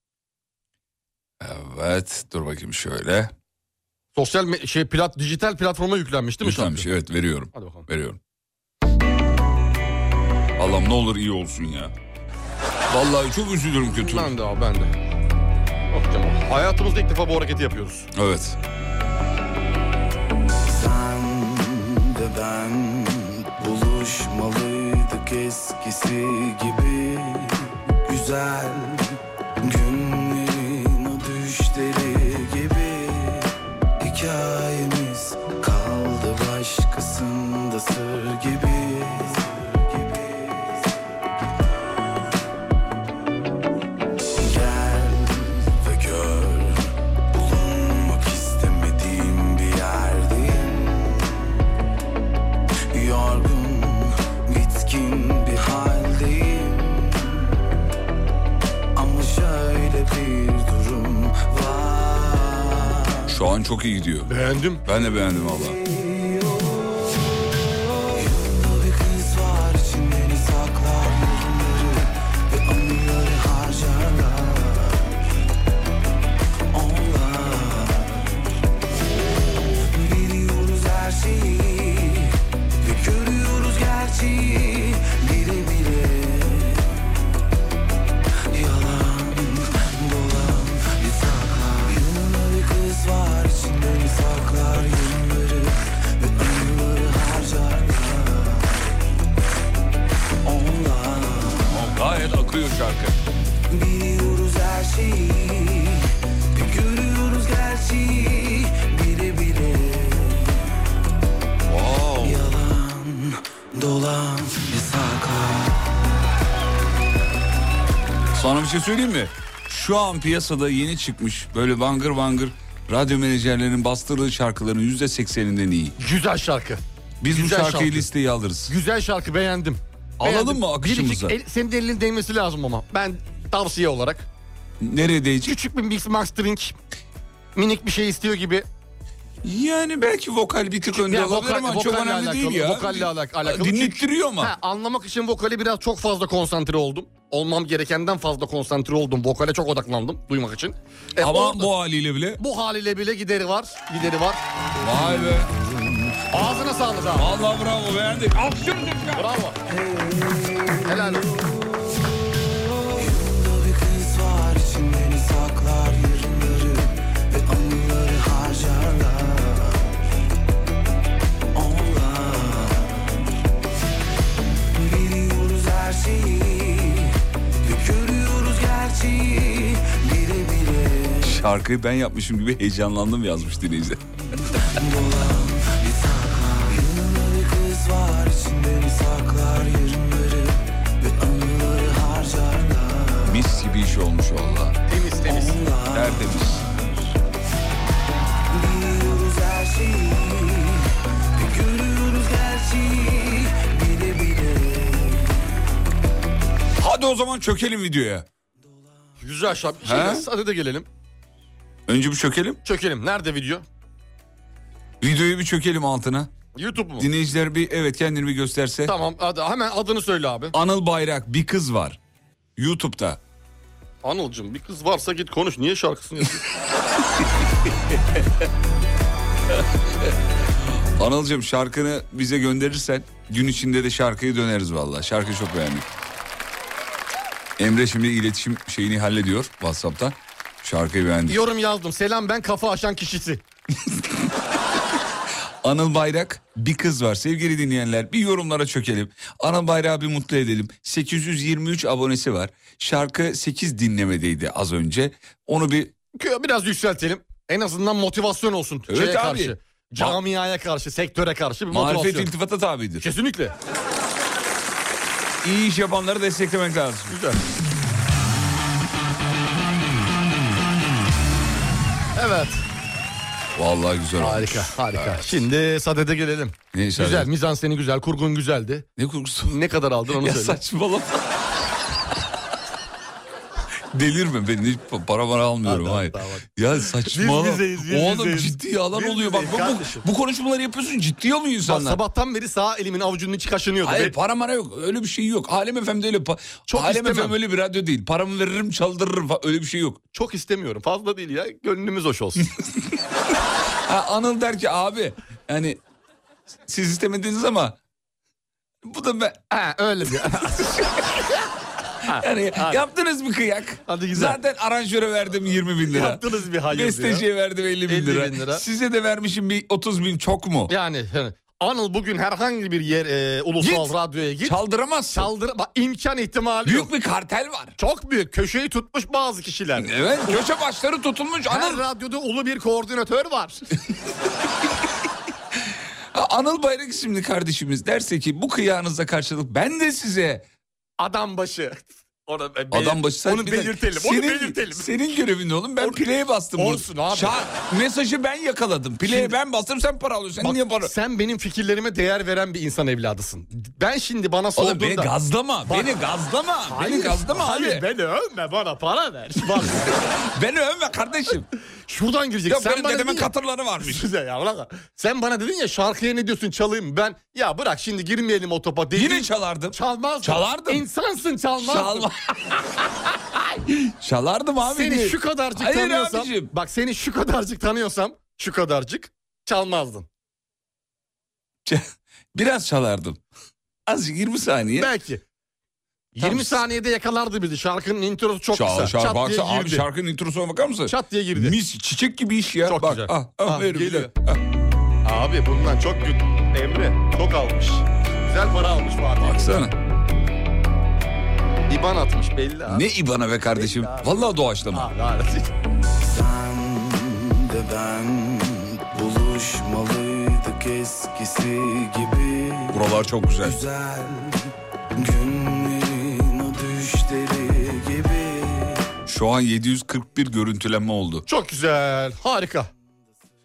S3: Evet dur bakayım şöyle.
S4: Sosyal me- şey plat dijital platforma yüklenmiş değil mi şarkı?
S3: Yüklenmiş şey, evet veriyorum.
S4: Hadi bakalım.
S3: Veriyorum. Allah'ım ne olur iyi olsun ya. Vallahi çok üzülürüm kötü.
S4: Ben de abi ben de. Yok canım. Hayatımızda ilk defa bu hareketi yapıyoruz.
S3: Evet.
S2: Sen de ben buluşmalıydık eskisi gibi Güzel günlerin o düşleri gibi Hikayemiz kaldı başkasında sır gibi Gel ve gör Bulunmak istemediğim bir yerdeyim Yorgun, bitkin bir haldeyim Ama şöyle bir durum var
S3: Şu an çok iyi gidiyor.
S4: Beğendim.
S3: Ben de beğendim valla.
S2: Yolda bir kız var içinden saklar Yorumları ve anıları harcarlar Onlar Biliyoruz her şeyi Ve görüyoruz gerçeği Biri biri Yalan dolan bir saklar Yanına bir kız var içinde bir saklar Yanları ve anıları harcarlar Onlar
S3: Gayet akıyor şarkı.
S2: Biliyoruz her şeyi Ve görüyoruz gerçeği Biri biri Yalan dolan bir saklar
S3: Sana bir şey söyleyeyim mi? Şu an piyasada yeni çıkmış böyle vangır vangır radyo menajerlerinin bastırdığı şarkıların yüzde sekseninden iyi.
S4: Güzel şarkı.
S3: Biz
S4: Güzel
S3: bu şarkıyı
S4: şarkı.
S3: listeye alırız.
S4: Güzel şarkı beğendim.
S3: Alalım
S4: Beğendim.
S3: mı akışımıza?
S4: Biricik el- senin de elinin değmesi lazım ama. Ben tavsiye olarak.
S3: Nereye değecek?
S4: Küçük bir mix mastering. Minik bir şey istiyor gibi.
S3: Yani belki vokal bir tık önde
S4: Ya
S3: olabilir ama çok
S4: vokalle
S3: önemli değil ya.
S4: Vokalle alak- alakalı.
S3: Dinlettiriyor
S4: Çünkü-
S3: ama.
S4: Ha, anlamak için vokali biraz çok fazla konsantre oldum. Olmam gerekenden fazla konsantre oldum. Vokale çok odaklandım duymak için. E,
S3: ama
S4: orada-
S3: bu haliyle bile.
S4: bu haliyle bile gideri var. Gideri var.
S3: Vay be.
S4: Ağzına sağlık abi.
S3: Vallahi bravo beğendik. Alkışlıyoruz çocuklar.
S4: Bravo. Helal olsun.
S2: Yolda bir kız var içinden saklar yarınları ve anıları harcarlar Onlar Biliyoruz her şeyi ve görüyoruz gerçeği biri biri
S3: Şarkıyı ben yapmışım gibi heyecanlandım yazmış dinleyiciler.
S2: Dolan bir saklar Yanına bir kız var içinden saklar yarınları ve anıları harcarlar
S3: Mis gibi iş olmuş valla.
S4: Temiz temiz.
S3: Tertemiz.
S2: Biliyoruz her şeyi Ve görüyoruz gerçeği Bile bile
S3: Hadi o zaman çökelim videoya.
S4: Güzel şarkı.
S3: He?
S4: Şimdi sade de gelelim.
S3: Önce bir çökelim.
S4: Çökelim. Nerede video?
S3: Videoyu bir çökelim altına.
S4: YouTube mu?
S3: Dinleyiciler bir evet kendini bir gösterse.
S4: Tamam hadi hemen adını söyle abi.
S3: Anıl Bayrak bir kız var. YouTube'da.
S4: Anılcım bir kız varsa git konuş. Niye şarkısını (laughs) yazıyorsun?
S3: Anılcığım şarkını bize gönderirsen gün içinde de şarkıyı döneriz valla. Şarkıyı çok beğendik. Emre şimdi iletişim şeyini hallediyor WhatsApp'tan. Şarkıyı beğendik.
S4: Yorum yazdım. Selam ben kafa aşan kişisi.
S3: Anıl Bayrak bir kız var. Sevgili dinleyenler bir yorumlara çökelim. Anıl Bayrak'ı bir mutlu edelim. 823 abonesi var. Şarkı 8 dinlemedeydi az önce. Onu bir
S4: Biraz yükseltelim. En azından motivasyon olsun Türkiye'ye
S3: Evet abi.
S4: karşı. Camiaya karşı, sektöre karşı bir
S3: marifet
S4: motivasyon.
S3: iltifata tabidir.
S4: Kesinlikle.
S3: İyi iş yapanları desteklemek lazım.
S4: Güzel. Evet.
S3: Vallahi güzel olmuş.
S4: Harika, harika. Şimdi sadede gelelim.
S3: Neyse,
S4: güzel,
S3: hadi.
S4: mizan seni güzel, kurgun güzeldi.
S3: Ne kurgusu?
S4: Ne kadar aldın onu
S3: Ya
S4: söyle.
S3: saçmalama. Delirme ben hiç pa- para para almıyorum
S4: Adam,
S3: hayır.
S4: tamam, hadi.
S3: Ya saçmalama.
S4: Biz bizeyiz, biz
S3: o adam
S4: bizeyiz.
S3: ciddi yalan
S4: Biz
S3: oluyor. Bak
S4: bizeyiz
S3: bu, bu,
S4: kardeşim.
S3: bu konuşmaları yapıyorsun ciddi alıyor
S4: Bak,
S3: insanlar.
S4: sabahtan beri sağ elimin avucunun içi kaşınıyordu.
S3: Hayır
S4: Ve-
S3: para mara yok öyle bir şey yok. Alem FM'de öyle pa-
S4: Çok
S3: Alem
S4: istemem.
S3: FM öyle bir radyo değil. Paramı veririm çaldırırım falan öyle bir şey yok.
S4: Çok istemiyorum. Fazla değil ya. Gönlümüz
S3: (laughs)
S4: hoş olsun.
S3: Ha, Anıl der ki abi yani siz istemediniz ama bu da ben
S4: ha, öyle bir.
S3: yani Hani yaptınız bir kıyak.
S4: Hadi güzel.
S3: Zaten aranjöre verdim 20 bin lira.
S4: Yaptınız bir hayır ya.
S3: Besteciye verdim 50 bin,
S4: 50
S3: lira.
S4: bin lira.
S3: Size de vermişim bir 30 bin çok mu?
S4: (laughs) Yani yani Anıl bugün herhangi bir yer e, ulusal
S3: Git.
S4: radyoya git.
S3: Çaldıramazsın.
S4: Çaldır bak imkan ihtimali yok.
S3: Büyük bir kartel var.
S4: Çok büyük. Köşeyi tutmuş bazı kişiler.
S3: Evet köşe başları tutulmuş.
S4: Her
S3: Anıl,
S4: radyoda ulu bir
S3: (laughs)
S4: koordinatör var.
S3: Anıl Bayrak isimli kardeşimiz derse ki bu kıyağınıza karşılık ben de size
S4: Adam başı. Ona, e, belir-
S3: adam başı
S4: onu belirtelim. Onu belirtelim.
S3: Senin görevin oğlum ben play'e bastım. bunu.
S4: Olsun abi.
S3: Şa- mesajı ben yakaladım. Play'e
S4: Şimdi-
S3: ben bastım sen para alıyorsun. Sen
S4: Bak,
S3: niye para...
S4: sen benim fikirlerime değer veren bir insan evladısın. Ben şimdi bana
S3: Oğlum
S4: sorduğunda...
S3: beni gazlama,
S4: Bak-
S3: beni gazlama, beni
S4: Hayır,
S3: gazlama
S4: hayır,
S3: abi.
S4: beni övme bana para ver. Bak
S3: (laughs) Beni övme kardeşim.
S4: şuradan girecek.
S3: Ya
S4: sen
S3: benim
S4: bana
S3: dedemin
S4: dedin ya-
S3: katırları
S4: (laughs)
S3: varmış.
S4: Size ya bırak. Sen bana dedin ya şarkıya ne diyorsun çalayım. Ben ya bırak şimdi girmeyelim o topa. Dedin,
S3: Yine çalardım.
S4: Çalmazdım.
S3: Çalardım.
S4: İnsansın çalmazdın.
S3: Çalma. (laughs) Çalardım abi.
S4: Seni şu kadarcık
S3: Hayır
S4: tanıyorsam.
S3: abicim.
S4: Bak seni şu kadarcık tanıyorsam şu kadarcık çalmazdın.
S3: Ç- Biraz çalardım. Azıcık 20 saniye.
S4: Belki. 20
S3: Tamam.
S4: saniyede yakalardı bizi. Şarkının introsu çok kısa. Çat diye
S3: baksana abi
S4: girdi.
S3: şarkının introsuna bakar mısın?
S4: Çat diye girdi.
S3: Mis çiçek gibi iş ya.
S4: Çok
S3: Bak,
S4: güzel.
S3: Ah, ah,
S4: Ah,
S3: veririm, bir
S4: geliyor.
S3: dakika. Ah.
S4: Abi bundan çok güt. Emre çok almış. Güzel para almış Fatih.
S3: Baksana.
S4: İban atmış belli abi. Ah,
S3: Ne İbana be kardeşim. Vallahi doğaçlama.
S4: Abi, abi.
S10: Sen de ben buluşmalıydık eskisi gibi
S3: Buralar çok güzel.
S10: Güzel günlerin o düşleri gibi
S3: Şu an 741 görüntülenme oldu.
S4: Çok güzel. Harika.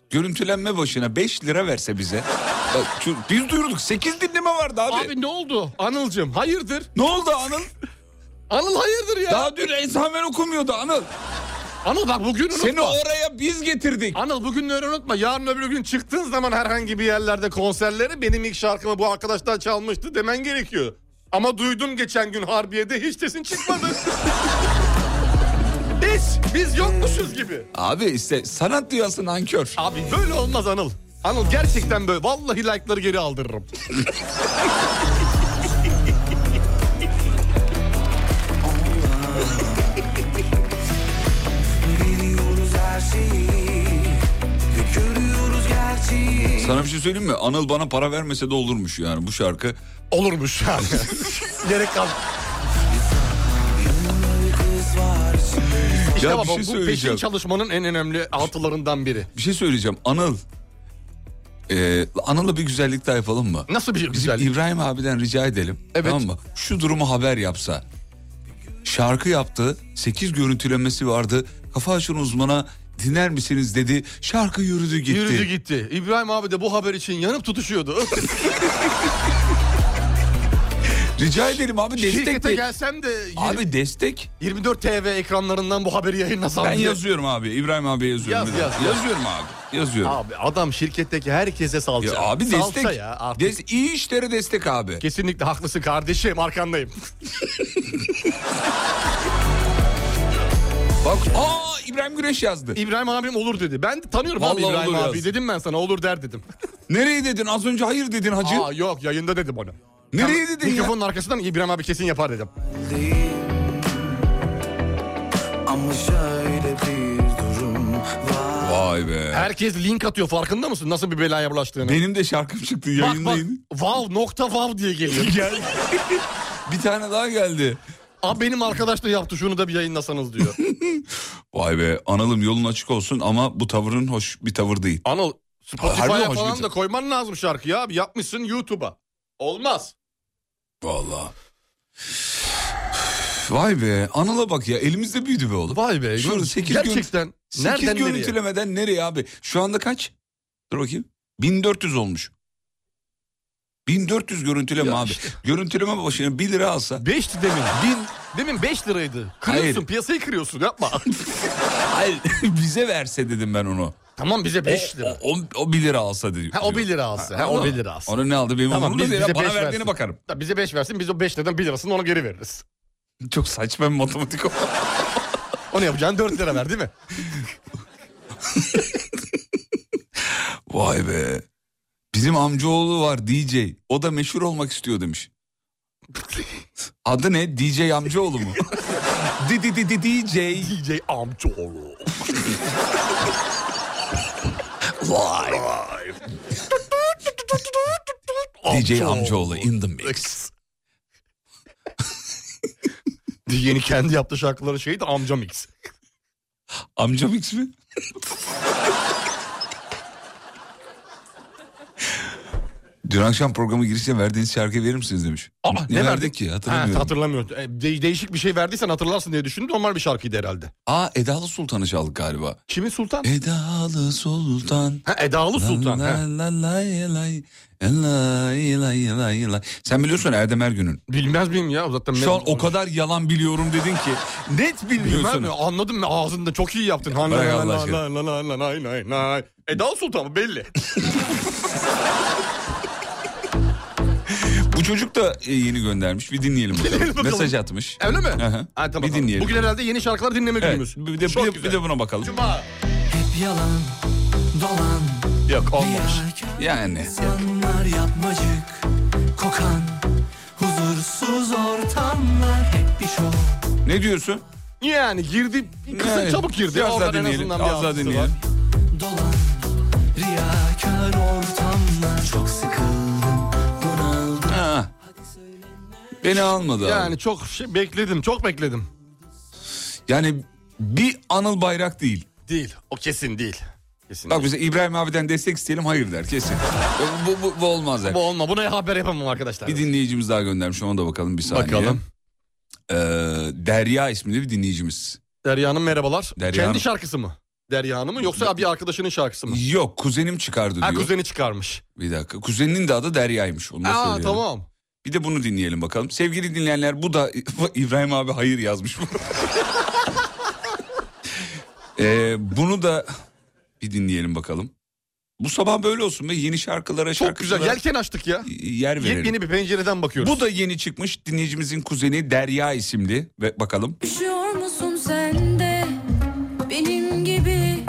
S3: Görüntülenme başına 5 lira verse bize. Bak, şu- biz duyurduk 8 dinleme vardı abi.
S4: Abi ne oldu? Anılcım hayırdır?
S3: Ne oldu Anıl?
S4: Anıl hayırdır ya?
S3: Daha dün Ensamen okumuyordu Anıl.
S4: Anıl bak bugün unutma.
S3: Seni oraya biz getirdik.
S4: Anıl bugünleri unutma. Yarın öbür gün çıktığın zaman herhangi bir yerlerde konserleri benim ilk şarkımı bu arkadaşlar çalmıştı demen gerekiyor. Ama duydum geçen gün Harbiye'de hiç sesin çıkmadı. hiç. Biz yokmuşuz gibi.
S3: Abi işte sanat dünyası nankör.
S4: Abi böyle olmaz Anıl. Anıl gerçekten böyle. Vallahi like'ları geri aldırırım.
S10: Biliyoruz her şeyi ve görüyoruz gerçeği
S3: Sana bir şey söyleyeyim mi? Anıl bana para vermese de olurmuş yani bu şarkı.
S4: Olurmuş yani. (laughs) Gerek kalmadı. İşte
S3: Ya bir
S4: baba,
S3: şey
S4: bu peşin
S3: söyleyeceğim.
S4: çalışmanın en önemli altılarından biri.
S3: Bir şey söyleyeceğim. Anıl. Ee, Anıl'a bir güzellik daha yapalım mı?
S4: Nasıl bir
S3: Bizim
S4: güzellik?
S3: İbrahim abiden rica edelim.
S4: Evet.
S3: Tamam mı? Şu durumu haber yapsa. Şarkı yaptı. 8 görüntülemesi vardı. Kafa açın uzmana dinler misiniz dedi. Şarkı yürüdü gitti.
S4: Yürüdü gitti. İbrahim abi de bu haber için yanıp tutuşuyordu.
S3: Rica edelim abi destek.
S4: Şirkete
S3: de-
S4: gelsem de
S3: Abi destek.
S4: 24 TV ekranlarından bu haberi yayınlasam
S3: Ben
S4: diye.
S3: yazıyorum abi. İbrahim abiye yazıyorum.
S4: Yaz,
S3: Bir
S4: yaz,
S3: dakika.
S4: yaz.
S3: Yazıyorum abi. Yazıyorum.
S4: Abi adam şirketteki herkese salça.
S3: Ya abi
S4: Salça
S3: destek.
S4: ya artık.
S3: Des- iyi işlere destek abi.
S4: Kesinlikle haklısın kardeşim arkandayım.
S3: Bak aa İbrahim Güneş yazdı.
S4: İbrahim abim olur dedi. Ben de tanıyorum abi
S3: Vallahi
S4: İbrahim
S3: olur
S4: abi.
S3: yaz.
S4: Dedim ben sana olur der dedim.
S3: Nereye dedin? Az önce hayır dedin hacı.
S4: Aa yok yayında dedim onu.
S3: Nereye dedin ya?
S4: Mikrofonun arkasından İbrahim abi kesin yapar dedim.
S10: değil Ama şöyle bir durum var
S3: Vay be.
S4: Herkes link atıyor farkında mısın nasıl bir belaya bulaştığını?
S3: Benim de şarkım çıktı
S4: Bak bak
S3: yayındaydı.
S4: wow nokta wow diye (laughs) geliyor.
S3: Gel. bir tane daha geldi.
S4: Abi benim arkadaş da yaptı şunu da bir yayınlasanız diyor.
S3: Vay be analım yolun açık olsun ama bu tavırın hoş bir tavır değil.
S4: (laughs) Anıl
S3: Harbi
S4: Spotify'a
S3: hoş
S4: falan
S3: bir-
S4: da koyman lazım şarkıyı abi yapmışsın YouTube'a. Olmaz.
S3: Vallahi. Vay be Anıl'a bak ya elimizde büyüdü be oğlum.
S4: Vay be.
S3: Şurada
S4: gör-
S3: sekiz
S4: Gerçekten.
S3: Sekiz
S4: Nereden nereye?
S3: görüntülemeden nereye abi? Şu anda kaç? Dur bakayım. 1400 olmuş. 1400 görüntüleme
S4: Ya
S3: abi.
S4: işte.
S3: Görüntüleme başına 1 lira alsa.
S4: 5 demin. Bin, demin 5 liraydı. Kırıyorsun
S3: Hayır.
S4: piyasayı kırıyorsun (laughs) yapma.
S3: Hayır (laughs) bize verse dedim ben onu.
S4: tamam bize 5
S3: O,
S4: lira.
S3: o, o 1 lira alsa dedi.
S4: Ha o 1 lira alsa. Ha, o 1 lira alsa.
S3: Onu ne aldı benim
S4: Tamam,
S3: tamam,
S4: biz-
S3: değil.
S4: bize
S3: Bana
S4: beş
S3: verdiğine
S4: versin.
S3: bakarım.
S4: Da bize 5 versin biz o 5 liradan 1 lirasını ona geri veririz.
S3: Çok saçma bir matematik o.
S4: Onu yapacağın 4 lira ver değil mi?
S3: Vay be. Bizim amcaoğlu var DJ. O da meşhur olmak istiyor
S4: (laughs)
S3: demiş. Adı ne? DJ amcaoğlu
S4: (laughs)
S3: mu? di di di di DJ.
S4: DJ Amcaoğlu.
S3: Live. DJ amcaoğlu in the mix.
S4: Yeni kendi yaptığı şarkıları şeydi Amcam X.
S3: Amca mix mi? Dün akşam programı girişte verdiğiniz şarkıyı verir misiniz demiş.
S4: Aa,
S3: ne, verdik? ki hatırlamıyorum.
S4: Ha, hatırlamıyorum. E, de- değişik bir şey verdiysen hatırlarsın diye düşündüm. Normal bir şarkıydı herhalde.
S3: Aa Edalı Sultan'ı çaldık galiba.
S4: Kimin Sultan?
S3: Edalı Sultan.
S4: Ha, Edalı Sultan.
S3: La
S4: ha.
S3: la la lay, lay, lay, lay, lay. Sen biliyorsun Erdem Ergün'ün.
S4: Bilmez miyim ya? Zaten
S3: Şu
S4: ben-
S3: an o kadar yalan biliyorum dedin ki net
S4: Bilmem mi?
S3: bilmiyorsun.
S4: Anladım mı? Ağzında çok iyi yaptın. Han
S3: bırak
S4: la
S3: Allah
S4: la
S3: aşkına.
S4: la la la la la la la. Edalı Sultan mı? Belli.
S3: Bu çocuk da e, yeni göndermiş. Bir dinleyelim bakalım.
S4: Dinleyelim bakalım.
S3: Mesaj atmış.
S4: Öyle mi?
S3: Aha. Bir
S4: Ha, tamam, tamam.
S3: dinleyelim.
S4: Bugün herhalde yeni şarkılar dinleme
S3: Evet,
S4: günümüz.
S3: bir, de,
S4: Çok
S3: bir, de,
S4: güzel.
S3: bir de buna bakalım.
S4: Cuma.
S7: Hep yalan, dolan,
S4: Yok olmamış.
S7: riyakar
S3: Yani.
S7: insanlar yapmacık, kokan, huzursuz ortamlar hep bir şov.
S3: Ne diyorsun?
S4: Yani girdi. Kısa
S3: Yani,
S4: çabuk girdi.
S3: biraz daha
S4: Oradan en
S3: dinleyelim,
S4: azından bir
S3: az daha
S4: altısı var.
S3: dinleyelim.
S7: Dolan, riyakar ortamlar çok sıkıldım, bunaldım.
S3: Ha. Beni almadı abi. yani.
S4: Yani çok şey bekledim. Çok bekledim.
S3: bir Anıl Bayrak değil.
S4: Değil. O kesin değil. Kesin
S3: Bak
S4: değil.
S3: bize İbrahim abiden destek isteyelim hayır der kesin. bu, bu, bu olmaz der.
S4: Bu olma. Buna haber yapamam arkadaşlar.
S3: Bir dinleyicimiz daha göndermiş ona da bakalım bir saniye.
S4: Bakalım.
S3: Ee, Derya isminde bir dinleyicimiz.
S4: Derya Hanım merhabalar.
S3: Derya
S4: Kendi
S3: Hanım.
S4: şarkısı mı? Derya Hanım mı yoksa bir arkadaşının şarkısı mı?
S3: Yok kuzenim çıkardı diyor.
S4: Ha kuzeni çıkarmış.
S3: Bir dakika kuzeninin de adı Derya'ymış onu da
S4: Aa
S3: söyleyelim.
S4: tamam.
S3: Bir de bunu dinleyelim bakalım. Sevgili dinleyenler bu da (laughs) İbrahim abi hayır yazmış. (laughs) ee, bunu da bir dinleyelim bakalım. Bu sabah böyle olsun be yeni şarkılara
S4: Çok güzel.
S3: şarkılara
S4: Yelken açtık ya.
S3: yer verelim.
S4: Yepyeni bir pencereden bakıyoruz.
S3: Bu da yeni çıkmış dinleyicimizin kuzeni Derya isimli ve bakalım.
S11: Üşüyor musun sen de benim gibi?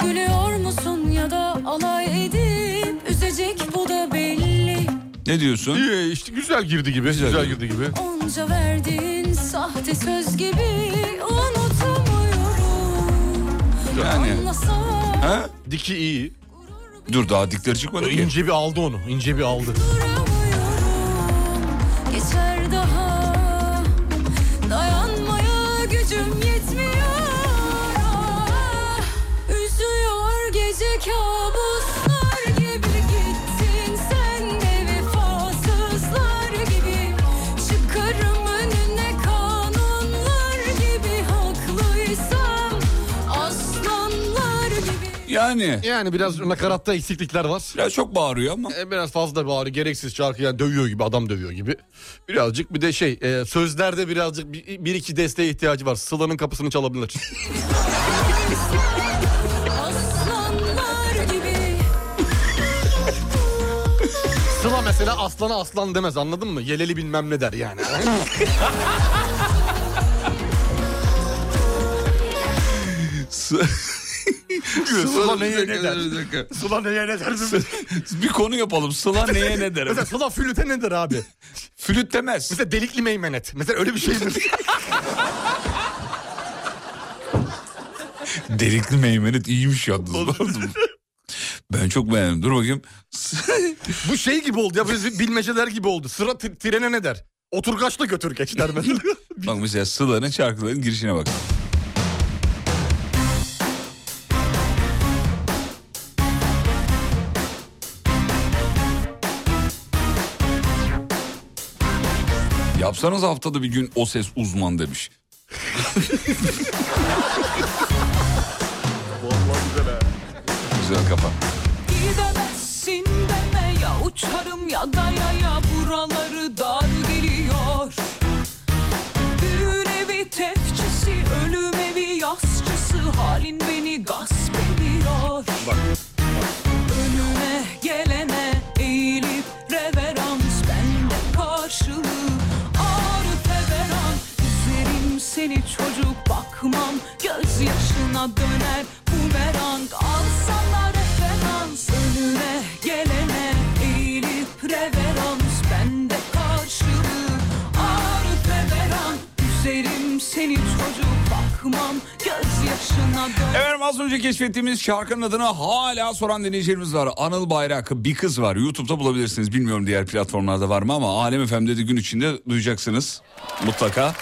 S11: Gülüyor musun ya da alay edip üzecek bu da belli.
S3: Ne diyorsun?
S4: İyi, işte güzel girdi gibi. Güzel, girdi gibi.
S11: Onca verdiğin sahte söz gibi unutamıyorum.
S3: Yani
S11: Anlasam
S3: ha?
S4: Diki iyi.
S3: Dur daha dikleri çıkmadı ki.
S4: İnce bir aldı onu. İnce bir aldı.
S11: duramıyorum. Geçer daha dayanmaya gücüm yetmiyor. Ah, Üzüyor gece kabuslar gibi gittin sen de vefasızlar gibi. Çıkarım önüne kanunlar gibi haklıysam aslanlar gibi.
S3: Yani
S4: Yani biraz nakaratta eksiklikler var.
S3: biraz çok bağırıyor ama.
S4: E, biraz fazla bari gereksiz şarkı yani dövüyor gibi adam dövüyor gibi. Birazcık bir de şey e, sözlerde birazcık bir, bir iki desteğe ihtiyacı var. Sıla'nın kapısını çalabilir.
S11: Aslanlar gibi
S4: (laughs) Sıla mesela aslana aslan demez anladın mı? Yeleli bilmem ne der yani. Sıla neye ne der?
S3: Bir dakika.
S4: (laughs) Sıla neye ne der?
S3: (laughs) Bir konu yapalım. Sıla neye ne der?
S4: Mesela Sıla flüte ne der abi?
S3: Flüt demez.
S4: Mesela delikli (laughs) meymenet. Mesela öyle bir şey mi?
S3: (laughs) Delikli meymenet iyiymiş yalnız. ben çok beğendim. Dur bakayım.
S12: Bu şey gibi oldu ya biz bilmeceler gibi oldu. Sıra t- trene ne der? Oturgaçla götür geç der
S4: (laughs)
S12: mesela.
S3: Bak mesela Sıla'nın şarkılarının girişine bak. Yapsanız haftada bir gün o ses uzman demiş. Güzel kafa.
S2: Gidemezsin deme ya uçarım ya dayaya buraları dar geliyor. Düğün evi tefçisi ölüm evi yasçısı halin beni gasp ediyor. Önüne gelene eğilip reverans bende karşılığı ağrı feveran. Üzerim seni çocuk bakmam gözyaşına döner bumerang alsana referans. Önüne gelene eğilip reverans bende karşılığı ağrı feveran. Üzerim seni çocuk bakmam gözyaşına döner.
S3: Efendim az önce keşfettiğimiz şarkının adını hala soran dinleyicilerimiz var. Anıl Bayrak bir kız var. YouTube'da bulabilirsiniz. Bilmiyorum diğer platformlarda var mı ama Alem FM'de de gün içinde duyacaksınız. Mutlaka.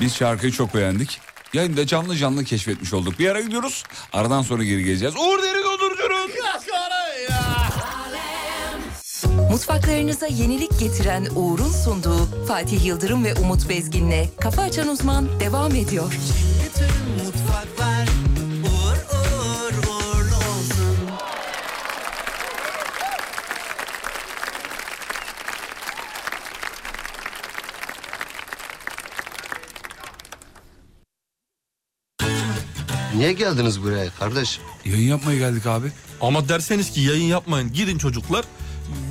S3: Biz şarkıyı çok beğendik. Yayında canlı canlı keşfetmiş olduk. Bir ara gidiyoruz. Aradan sonra geri geleceğiz. Uğur Derin Dondurucu'nun
S1: Mutfaklarınıza yenilik getiren Uğur'un sunduğu Fatih Yıldırım ve Umut Bezgin'le Kafa Açan Uzman devam ediyor.
S7: mutfaklar uğur uğur uğurlu olsun.
S13: Niye geldiniz buraya kardeş?
S3: Yayın yapmaya geldik abi.
S4: Ama derseniz ki yayın yapmayın gidin çocuklar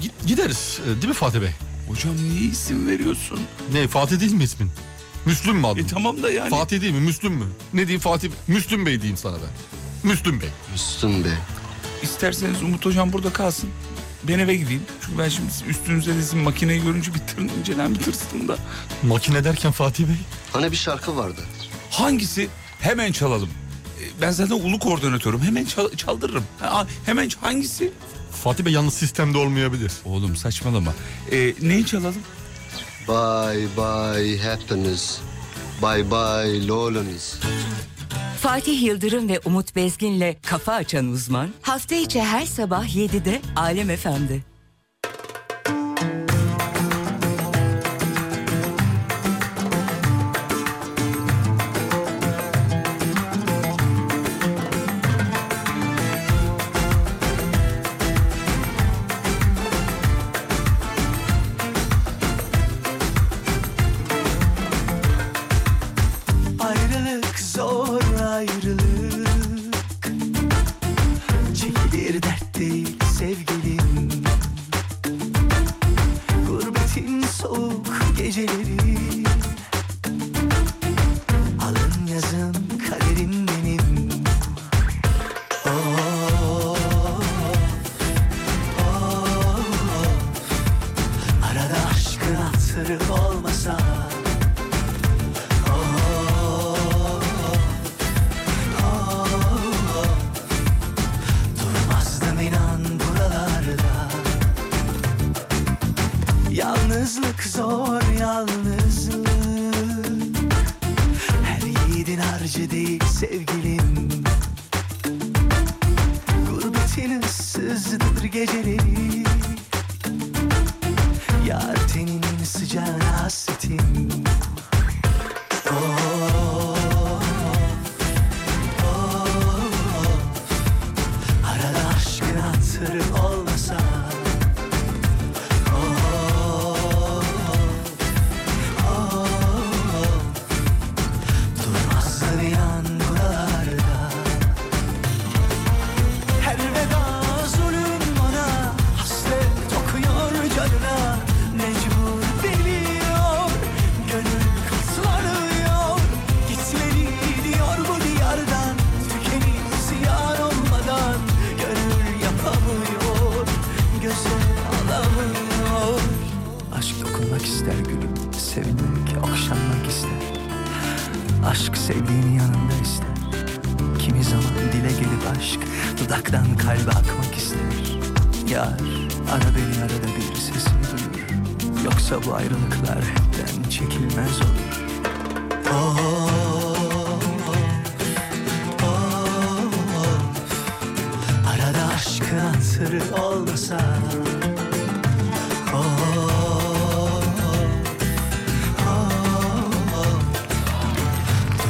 S4: Git- gideriz e, değil mi Fatih Bey?
S3: Hocam niye isim veriyorsun?
S4: Ne Fatih değil mi ismin? Müslüm mü adın?
S3: E tamam da yani.
S4: Fatih değil mi Müslüm mü? Ne diyeyim Fatih? Müslüm Bey diyeyim sana ben. Müslüm Bey.
S13: Müslüm Bey.
S3: İsterseniz Umut Hocam burada kalsın. Ben eve gideyim. Çünkü ben şimdi üstünüze dizim makineyi görünce bitirin incelen bir tırstım da.
S4: Makine derken Fatih Bey.
S13: Hani bir şarkı vardı.
S3: Hangisi? Hemen çalalım. E, Ben zaten ulu koordinatörüm. Hemen çal- çaldırırım. Ha, hemen ç- hangisi?
S4: Fatih Bey yalnız sistemde olmayabilir.
S3: Oğlum saçmalama. E, neyi çalalım?
S13: Bye bye happiness. Bye bye loneliness.
S2: Fatih Yıldırım ve Umut Bezgin'le Kafa Açan Uzman hafta içi her sabah 7'de Alem Efendi.
S7: Ayrılık zor ayrılık Çekilir dert değil sevgilim Gurbetin soğuk geceleri Alın yazın kaderim benim Oh, oh. Arada aşkın hatırı olmasa Durmazdım inan buralarda Yalnızlık zor yalnızlık Her yiğidin harcı değil sevgilim Gurbetin ıssızdır geceleri Yar teninin sıcağına hasretim Arada aşkın hatırı olmasa Oh, oh, Durmazsa bir an buralarda Her veda zulüm bana Hasret okuyor canına Mecbur biliyor Gönül Dudaktan kalbe akmak ister Yar ara beni arada bir sesimi duyur Yoksa bu ayrılıklar hepten çekilmez olur Oh, Of, oh, of. oh. Arada aşkın sırrı olmasa Oh, Of, oh. of.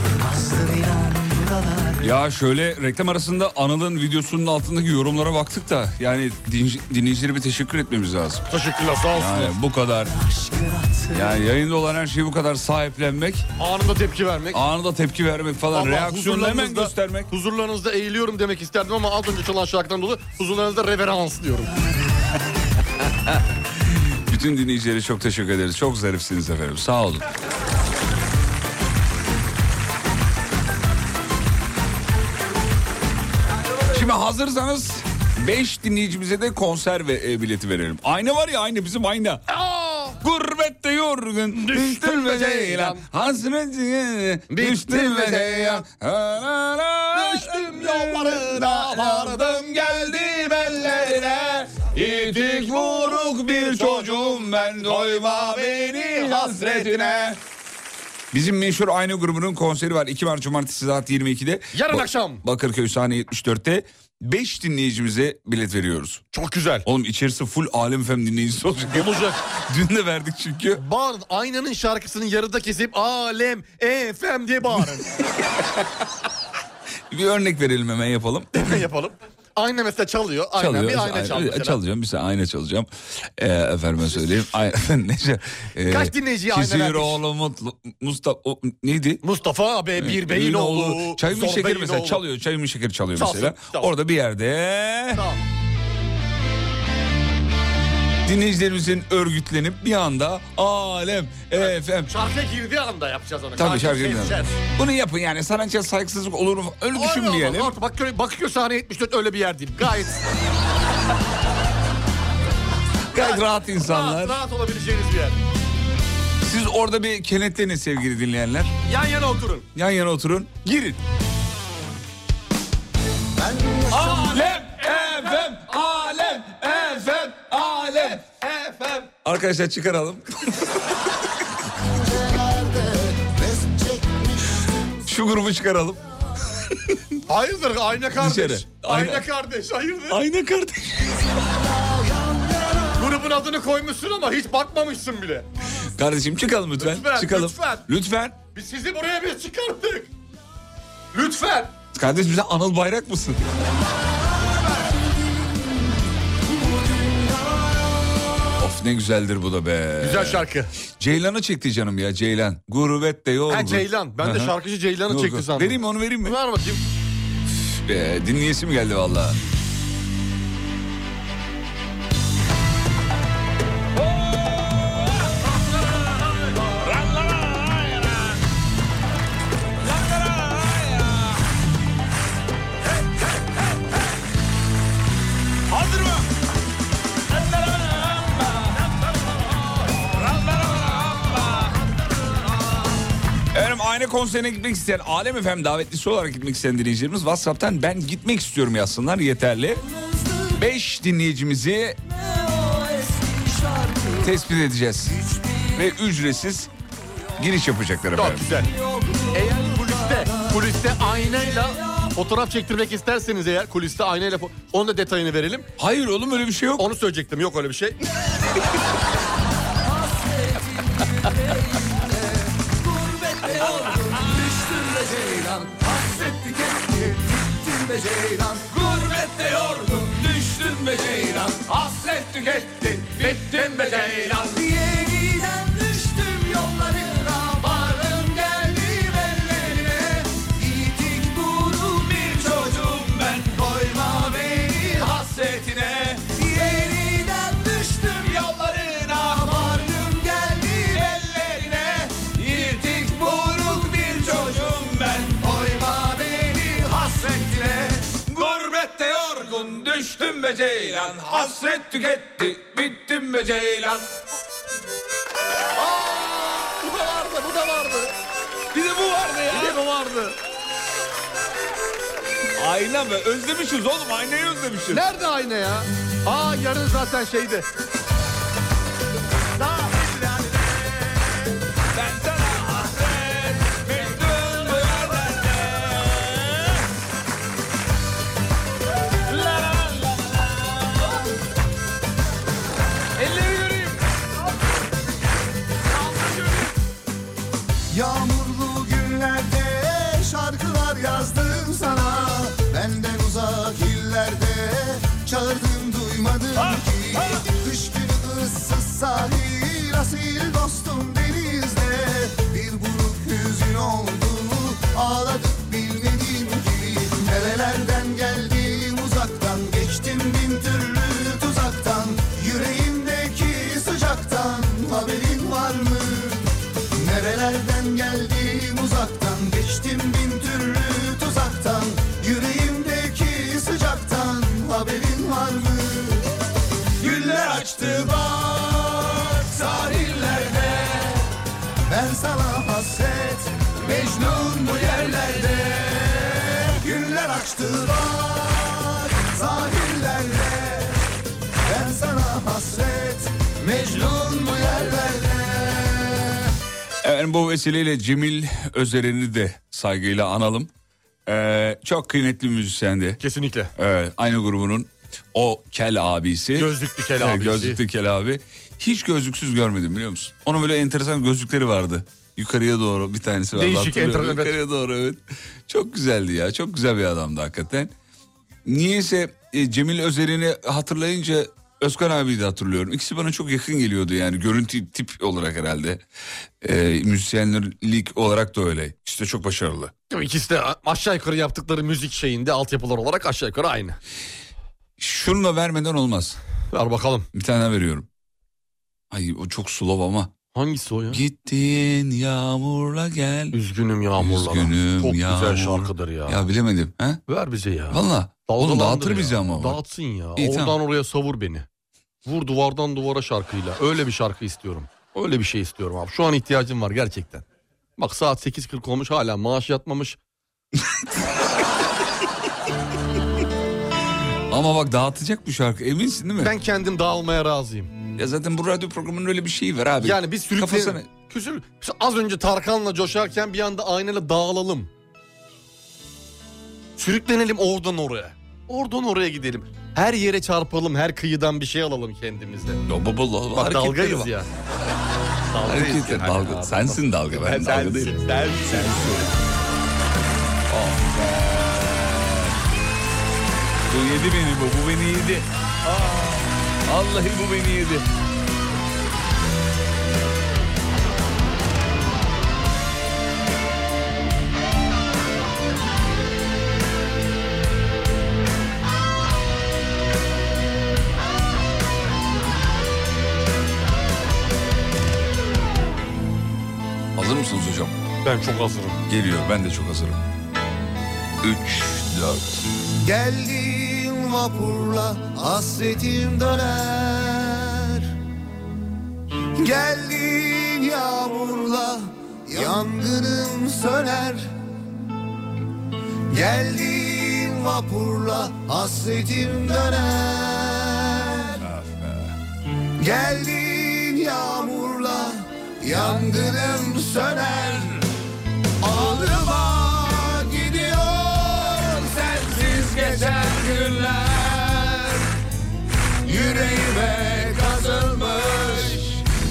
S7: Durmazdı inan buralar
S3: Ya şöyle reklam arasında Anıl'ın videosunun altındaki yorumlara baktık da yani dinci- dinleyicilere bir teşekkür etmemiz lazım.
S4: Teşekkürler sağ olsunlar.
S3: Yani bu kadar. Yani yayında olan her şeyi bu kadar sahiplenmek.
S4: Anında tepki vermek.
S3: Anında tepki vermek falan.
S4: Vallahi
S3: Reaksiyonu hemen
S4: huzurlarınızda-
S3: göstermek.
S4: Huzurlarınızda eğiliyorum demek isterdim ama az önce çalan şarkıdan dolayı huzurlarınızda reverans diyorum.
S3: Bütün dinleyicilere çok teşekkür ederiz. Çok zarifsiniz efendim. Sağ olun. Şimdi hazırsanız 5 dinleyicimize de konser ve e, bileti verelim. Ayna var ya aynı bizim ayna. Gurbette yorgun düştün ve ceylan Hasretin düştün ve ceylan Düştüm yollarına vardım geldim ellere İtik vuruk bir çocuğum ben doyma beni hasretine Bizim meşhur Aynı grubunun konseri var. 2 Mart Cumartesi saat 22'de.
S4: Yarın
S3: Ba-
S4: akşam.
S3: Bakırköy sahne 74'te 5 dinleyicimize bilet veriyoruz.
S4: Çok güzel.
S3: Oğlum içerisi full Alem Fem dinleyicisi olacak.
S4: Olacak.
S3: (laughs) Dün de verdik çünkü.
S4: Bağırın aynanın şarkısını yarıda kesip alem efem diye bağırın.
S3: Bir örnek verelim hemen yapalım.
S4: ne yapalım? Ayna mesela çalıyor. Ayna
S3: Çalıyoruz,
S4: bir ayna çal mesela.
S3: Çalacağım bir saniye ayna çalacağım. Ee, efendime
S4: (laughs)
S3: söyleyeyim. Ay, neyse, ee,
S4: Kaç dinleyiciye ayna
S3: Kisir
S4: vermiş?
S3: oğlu Mutlu, Mustafa, o- neydi?
S4: Mustafa abi bir beyin oğlu.
S3: Çay mı
S4: zor
S3: şeker
S4: beyin
S3: mesela
S4: oğlu.
S3: çalıyor. Çay mı şeker çalıyor
S4: Çalsın,
S3: mesela.
S4: tamam.
S3: Orada bir yerde. Dinleyicilerimizin örgütlenip bir anda alem, efem.
S4: Şarkı girdiği anda yapacağız onu.
S3: Tabii
S4: Şarkı
S3: şarkı dinleyelim.
S4: keseceğiz.
S3: Bunu yapın yani sanatçıya saygısızlık olur mu? Öyle
S4: Olur,
S3: düşünmeyelim.
S4: olur. Bakıyor, bakıyor sahne 74 öyle bir yer değil. Gayet
S3: (laughs) Gayet rahat insanlar.
S4: rahat, rahat olabileceğiniz bir yer.
S3: Siz orada bir kenetlenin sevgili dinleyenler.
S4: Yan yana oturun.
S3: Yan yana oturun. Girin. Alem efem, alem efem, alem efem. Arkadaşlar çıkaralım. Şu grubu çıkaralım.
S4: Hayırdır ayna kardeş.
S3: Dışarı.
S4: Ayna,
S3: Ayna.
S4: kardeş hayırdır.
S3: Ayna kardeş.
S4: Grubun adını koymuşsun ama hiç bakmamışsın bile.
S3: Kardeşim çıkalım lütfen.
S4: Lütfen,
S3: çıkalım.
S4: lütfen.
S3: Lütfen.
S4: Biz sizi buraya biz çıkarttık. Lütfen.
S3: Kardeş bize Anıl Bayrak mısın? Of ne güzeldir bu da be.
S4: Güzel şarkı.
S3: Ceylan'ı çekti canım ya Ceylan. Gurbet de yorgun.
S4: Ha Ceylan. Ben de
S3: Hı hı.
S4: şarkıcı Ceylan'ı
S3: Yorgun.
S4: çekti sandım.
S3: Vereyim mi onu vereyim mi?
S4: Ver bakayım.
S3: Be, dinleyesim geldi valla.
S2: Hazır mı?
S3: Efendim aynı konserine gitmek isteyen Alem Efem davetlisi olarak gitmek isteyen dinleyicilerimiz Whatsapp'tan ben gitmek istiyorum yazsınlar yeterli. 5 dinleyicimizi tespit edeceğiz. Ve ücretsiz giriş yapacaklar efendim.
S4: Çok güzel. Eğer kuliste, kuliste aynayla fotoğraf çektirmek isterseniz eğer kuliste aynayla fo- onun da detayını verelim.
S3: Hayır oğlum öyle bir şey yok.
S4: Onu söyleyecektim yok öyle bir şey.
S2: Düştün be ceylan, hasrettik etti, gittin be ceylan. Gurbette yorgun, düştün be ceylan, hasret tükettin, bittin be ceylan. Yeniden düştüm yollarına, varım geldim ellerine. İtik gurur bir çocuğum ben, koyma beni hasretine. Yeniden düştüm yollarına, varım geldim ellerine. Yirtik buruk bir çocuğum ben Koyma beni hasretine Gurbette yorgun düştüm be ceylan Hasret tüketti bittim be ceylan
S4: Bu da vardı, bu da vardı.
S3: Bir de bu vardı ya.
S4: Bir de bu vardı.
S3: Ayna mı? Özlemişiz oğlum aynayı özlemişiz.
S4: Nerede ayna ya? Aa yarın zaten şeyde.
S7: Elleri göreyim.
S2: Yağmurlu günlerde şarkılar yazdım sana Benden uzak illerde çağırdım duymadın ki Kış günü ıssız sahil asil dostum denizde Bir buruk hüzün olduğunu ağladık bilmedin ki Nerelerden geldim uzaktan geçtim bin türlü tuzaktan Yüreğimdeki sıcaktan haberin var mı? Nerelerden geldim uzaktan Geçtim bin türlü tuzaktan Yüreğimdeki sıcaktan Haberin var mı? Güller açtı bak sahillerde Ben sana hasret Mecnun bu yerlerde Güller açtı bak sahillerde Ben sana hasret Mecnun bu yerlerde
S3: Efendim bu vesileyle Cemil Özereni de saygıyla analım. Ee, çok kıymetli bir müzisyendi.
S4: Kesinlikle.
S3: Evet, aynı grubunun o kel abisi.
S4: Gözlüklü kel
S3: Evet,
S4: abisi.
S3: Gözlüklü kel abi. Hiç gözlüksüz görmedim biliyor musun? Onun böyle enteresan gözlükleri vardı. Yukarıya doğru bir tanesi vardı.
S4: Değişik,
S3: hatırlıyorum.
S4: enteresan, evet.
S3: Yukarıya doğru evet. Çok güzeldi ya. Çok güzel bir adamdı hakikaten. Niyeyse e, Cemil Özereni hatırlayınca Özkan abiyi de hatırlıyorum. İkisi bana çok yakın geliyordu yani görüntü tip olarak herhalde. E, müzisyenlik olarak da öyle. İşte çok başarılı.
S4: Tabii İkisi de aşağı yukarı yaptıkları müzik şeyinde altyapılar olarak aşağı yukarı aynı.
S3: Şunu da vermeden olmaz.
S4: Ver bakalım.
S3: Bir tane daha veriyorum. Ay o çok slow ama.
S4: Hangisi o ya?
S3: Gittin yağmurla gel.
S4: Üzgünüm yağmurlara.
S3: Üzgünüm
S4: Çok
S3: yağmur.
S4: güzel şarkıdır ya.
S3: Ya bilemedim. He?
S4: Ver bize ya.
S3: Valla. Oğlum
S4: Dalgalandır
S3: dağıtır
S4: ya.
S3: bizi ama. bak.
S4: Dağıtsın ya.
S3: İyi,
S4: Oradan
S3: tamam.
S4: oraya savur beni. Vur duvardan duvara şarkıyla. Öyle bir şarkı istiyorum. Öyle bir şey istiyorum abi. Şu an ihtiyacım var gerçekten. Bak saat 8.40 olmuş hala maaş yatmamış.
S3: Ama bak dağıtacak bu şarkı eminsin değil mi?
S4: Ben kendim dağılmaya razıyım.
S3: Ya zaten bu radyo programının öyle bir şeyi var abi.
S4: Yani biz sürükleyelim.
S3: Kafasına-
S4: Küsür. Az önce Tarkan'la coşarken bir anda aynayla dağılalım. Sürüklenelim oradan oraya. Oradan oraya gidelim. Her yere çarpalım, her kıyıdan bir şey alalım kendimize.
S3: Ya baba Allah,
S4: Bak
S3: hareketleri
S4: dalgayız
S3: bak.
S4: ya. Dalgayız
S3: Hareketler
S4: yani.
S3: dalga. Sensin dalga ben,
S4: Ben
S3: dalga değilim.
S4: sensin, sensin.
S3: Oh be. Bu yedi beni bu. Bu beni yedi. Aa, Vallahi bu beni yedi. Hazır mısınız hocam?
S4: Ben çok hazırım.
S3: Geliyor ben de çok hazırım. 3, 4.
S2: Geldiğin vapurla hasretim döner Geldiğin yağmurla yangınım söner Geldiğin vapurla hasretim döner Geldiğin yağmurla yangınım söner Ağlıma gidiyor sensiz geçen günler Yüreğime kazılmış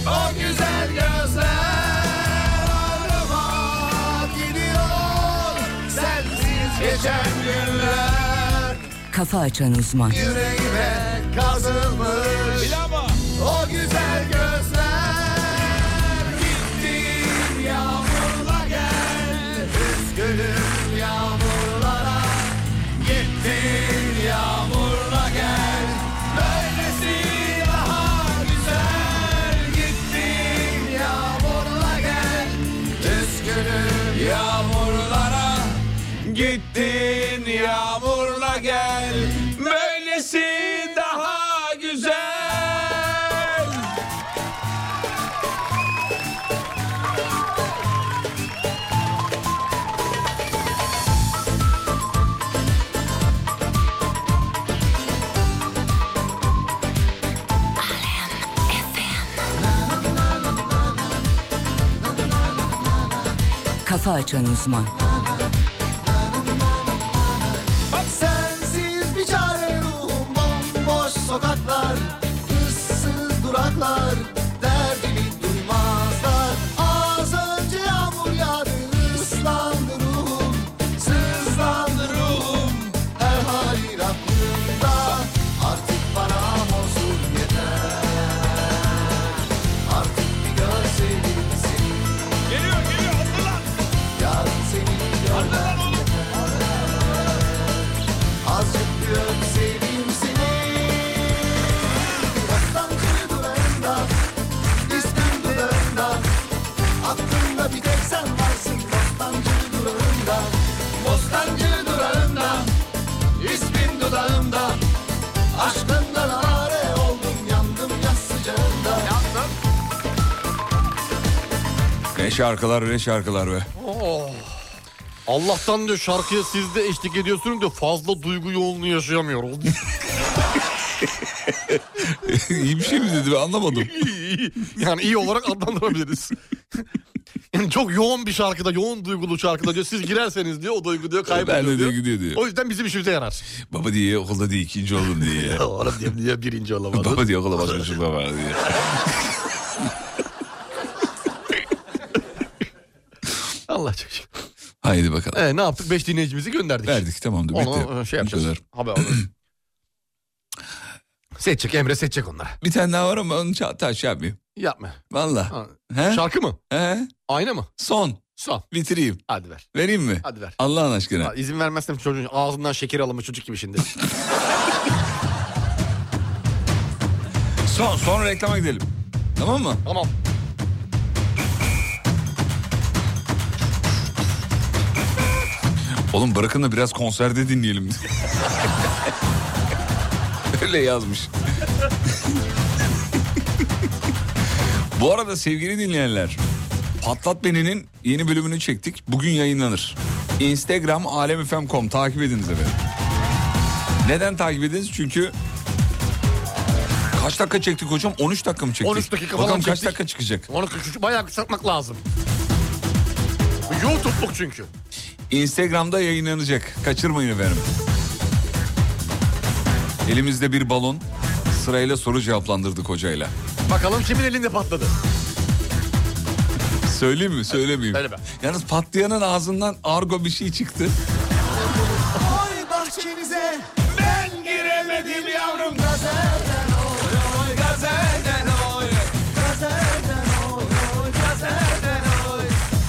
S2: o güzel gözler Ağlıma gidiyor sensiz geçen günler
S14: Kafa Açan Uzman.
S2: Yüreğime kazılmış O güzel gözler Gittin yağmurla gel Üzgünüm yağmurlara Gittin yağmurla gel Böylesi daha güzel Gittin yağmurla gel Üzgünüm yağmurlara
S7: Gittin yağmurla gel Böylesi daha güzel
S14: Kafa Açan Uzman.
S2: Bak sensiz bir çare ruhum bomboş sokaklar Issız duraklar derdimi duymazlar Az önce yağmur yağdı ıslandı ruhum Sızlandı ruhum her halin aklımda Artık bana huzur yeter Artık bir görseydim seni Geliyor geliyor atla lan Yarın seni görmem Azıcık bir öpseydim seni Rastlantılı dudağında Üstün dudağında Aklımda bir tek sen varsın Bostancı durağında Bostancı durağında İsmin dudağımda Aşkından are oldum Yandım yaz sıcağında Yandım
S3: Ne şarkılar ne şarkılar be. (laughs)
S4: Oh. Allah'tan diyor şarkıya siz de eşlik ediyorsunuz diyor fazla duygu yoğunluğu yaşayamıyoruz. (laughs)
S3: iyi bir şey mi dedi ben anlamadım.
S4: yani iyi olarak adlandırabiliriz. (laughs) Yani çok yoğun bir şarkıda, yoğun duygulu şarkıda diyor. Siz girerseniz diyor o duygu diyor kayboluyor
S3: Bende de
S4: diyor.
S3: gidiyor diyor.
S4: O yüzden bizim işimize yarar.
S3: Baba diye okulda diye ikinci oldum diye.
S4: (laughs) Oğlum diye, diye birinci olamadın.
S3: Baba diye okula başlamışım baba diye.
S4: Allah çok şükür.
S3: Haydi bakalım.
S4: Ee, ne yaptık? Beş dinleyicimizi gönderdik.
S3: Verdik tamamdır bitti.
S4: Onu e, şey yapacağız.
S3: Bu kadar.
S4: Haber alırız. seçecek Emre seçecek onları.
S3: Bir tane daha var ama onu ça- taş yapmayayım.
S4: Yapma.
S3: Valla.
S4: Ha.
S3: He?
S4: Şarkı mı?
S3: He?
S4: Ayna mı?
S3: Son.
S4: Son.
S3: Bitireyim.
S4: Hadi ver.
S3: Vereyim mi?
S4: Hadi ver.
S3: Allah'ın aşkına.
S4: Ha, İzin vermezsem çocuğun ağzından şeker alınmış çocuk
S3: (laughs)
S4: gibi şimdi.
S3: Son, son reklama gidelim. Tamam mı?
S4: Tamam.
S3: Oğlum bırakın da biraz konserde dinleyelim. (laughs) Öyle yazmış. (laughs) Bu arada sevgili dinleyenler, Patlat Beni'nin yeni bölümünü çektik. Bugün yayınlanır. Instagram alemfm.com takip ediniz efendim. Neden takip ediniz? Çünkü kaç dakika çektik hocam? 13 dakika mı çektik?
S4: 13 dakika falan
S3: Bakalım kaç
S4: çektik.
S3: dakika çıkacak?
S4: Onu küçük- bayağı kısaltmak lazım. YouTube'luk çünkü.
S3: Instagram'da yayınlanacak. Kaçırmayın efendim. Elimizde bir balon. Sırayla soru cevaplandırdık hocayla.
S4: Bakalım kimin elinde patladı.
S3: Söyleyeyim mi? Söylemeyeyim. Yalnız patlayanın ağzından argo bir şey çıktı.
S2: Oy bahçenize ben giremedim yavrum Gazelden oy oy gazelden oy Gazelden oy oy gazelden oy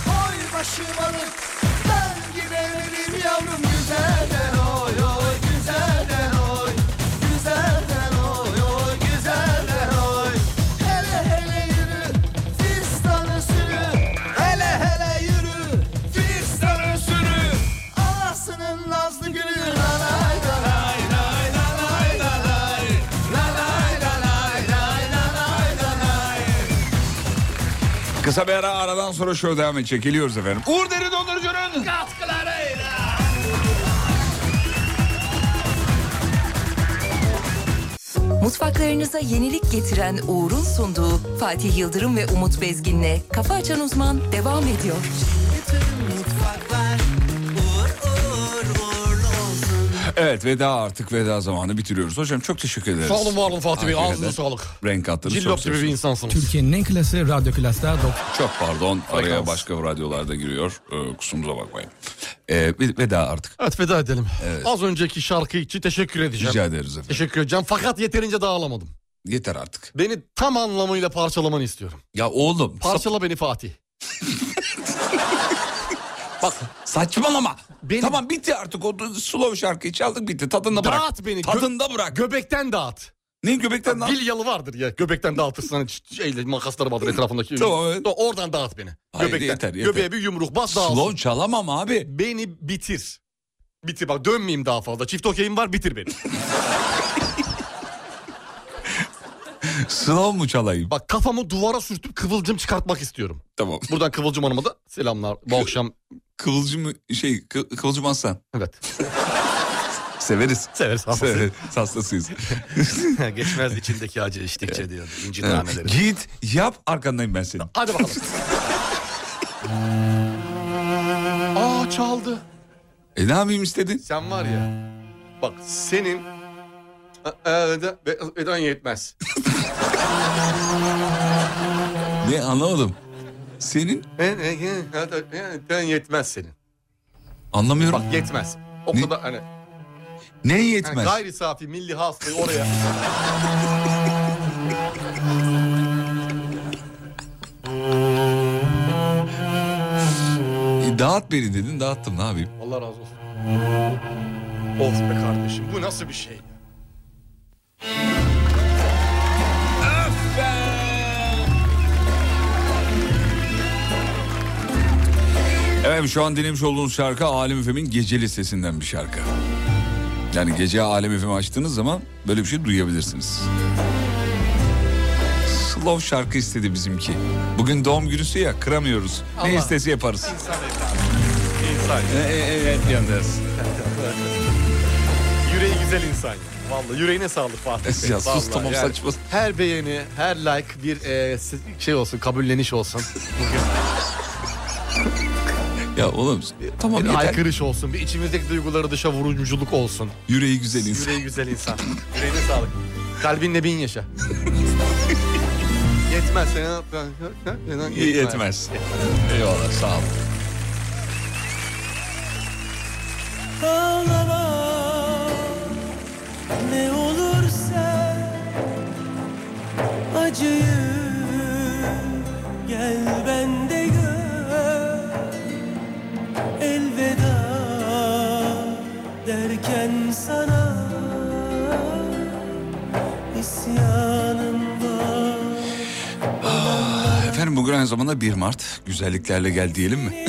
S2: Oy başım alıp ben giremedim yavrum Güzelden oy oy güzelden oy Güzelden oy oy güzelden oy Hele hele yürü fistanı sürü Hele hele yürü fistanı sürü Anasının nazlı gülü Lalay lalay lalay lalay lalay Lalay lalay lalay lalay lalay
S3: Kısa bir ara aradan sonra şöyle devam edecek. Geliyoruz efendim. Uğur Derin Dondurucu'nun
S2: katkılarıyla
S1: Mutfaklarınıza yenilik getiren Uğur'un sunduğu Fatih Yıldırım ve Umut Bezgin'le Kafa Açan Uzman devam ediyor.
S3: Evet veda artık veda zamanı bitiriyoruz. Hocam çok teşekkür ederiz.
S4: Sağ olun var olun Fatih Bey.
S3: Hakikaten
S4: Ağzınıza sağlık.
S3: Renk attınız.
S4: Cillop
S3: çok
S4: gibi bir
S3: sevindim.
S4: insansınız.
S15: Türkiye'nin en klası Radyo Klas'ta dok-
S3: Çok pardon araya başka radyolarda giriyor. Ee, kusurumuza bakmayın. Ee, ve- veda artık.
S4: Evet veda edelim.
S3: Evet.
S4: Az önceki şarkı için teşekkür edeceğim.
S3: Rica ederiz efendim.
S4: Teşekkür edeceğim fakat yeterince dağılamadım.
S3: Yeter artık.
S4: Beni tam anlamıyla parçalamanı istiyorum.
S3: Ya oğlum.
S4: Parçala beni Fatih. Bak
S3: saçmalama. Tamam bitti artık. O slow şarkıyı çaldık bitti. Tadında bırak.
S4: Dağıt beni. Gö-
S3: Tadında bırak.
S4: Göbekten dağıt.
S3: Ne göbekten dağıt?
S4: Bilyalı vardır ya. Göbekten dağıtırsın hani şeyle
S3: (laughs)
S4: makasları vardır etrafındaki.
S3: Tamam,
S4: Oradan dağıt beni.
S3: Hayır,
S4: göbekten.
S3: yeter, yeter.
S4: Göbeğe bir yumruk bas dağılsın.
S3: Slow çalamam abi.
S4: Beni bitir. Bitir bak dönmeyeyim daha fazla. Çift okeyim var bitir beni.
S3: Slow mu çalayım?
S4: Bak kafamı duvara sürtüp kıvılcım çıkartmak istiyorum.
S3: Tamam.
S4: Buradan Kıvılcım Hanım'a da selamlar. Bu akşam
S3: Kıvılcım şey Kı- Kıvılcım Aslan.
S4: Evet.
S3: Severiz.
S4: Severiz.
S3: Hastasıyız. (laughs) Hastasıyız.
S4: (laughs) Geçmez içindeki acı içtikçe diyor. İnci
S3: Evet.
S4: taneleri. (laughs)
S3: Git yap arkandayım ben senin.
S4: Hadi bakalım. çaldı.
S3: E ne yapayım istedin?
S4: Sen var ya. Bak senin e, Eda, Eda yetmez. (laughs)
S3: Ne anlamadım. Senin?
S4: Eda yetmez senin.
S3: Anlamıyorum.
S4: Bak yetmez. O kadar hani.
S3: Ne
S4: Yani
S3: yetmez?
S4: gayri safi milli hastayı oraya.
S3: E, dağıt beni dedin dağıttım ne yapayım?
S4: Allah razı olsun. Of be kardeşim bu nasıl bir şey?
S3: Efendim şu an dinlemiş olduğunuz şarkı Alem FM'in gece listesinden bir şarkı. Yani gece Alem FM açtığınız zaman böyle bir şey duyabilirsiniz. Slow şarkı istedi bizimki. Bugün doğum günüsü ya kıramıyoruz. Ne
S4: Allah.
S3: istesi yaparız.
S4: İnsan evladı. İnsan.
S3: E, e, evet yalnız.
S4: Yüreği güzel insan. Vallahi yüreğine sağlık Fatih
S3: (laughs)
S4: Bey.
S3: Ya sus
S4: Vallahi
S3: tamam, saçma.
S4: Her beğeni, her like bir e, se- şey olsun, kabulleniş olsun.
S3: Ya oğlum (laughs) tamam
S4: bir
S3: yeter.
S4: aykırış olsun, bir içimizdeki duyguları dışa vuruculuk olsun.
S3: Yüreği güzel insan.
S4: Yüreği güzel insan. yüreğine sağlık. Kalbinle
S3: (laughs)
S4: bin yaşa. Yetmez. Yetmez.
S3: Yetmez. Eyvallah sağ ol.
S2: Ağlara ne olur sen acıyı gel bende gör elveda derken sana isyanım var.
S3: Ah, Efendim bugün aynı zamanda 1 Mart. Güzelliklerle gel diyelim mi?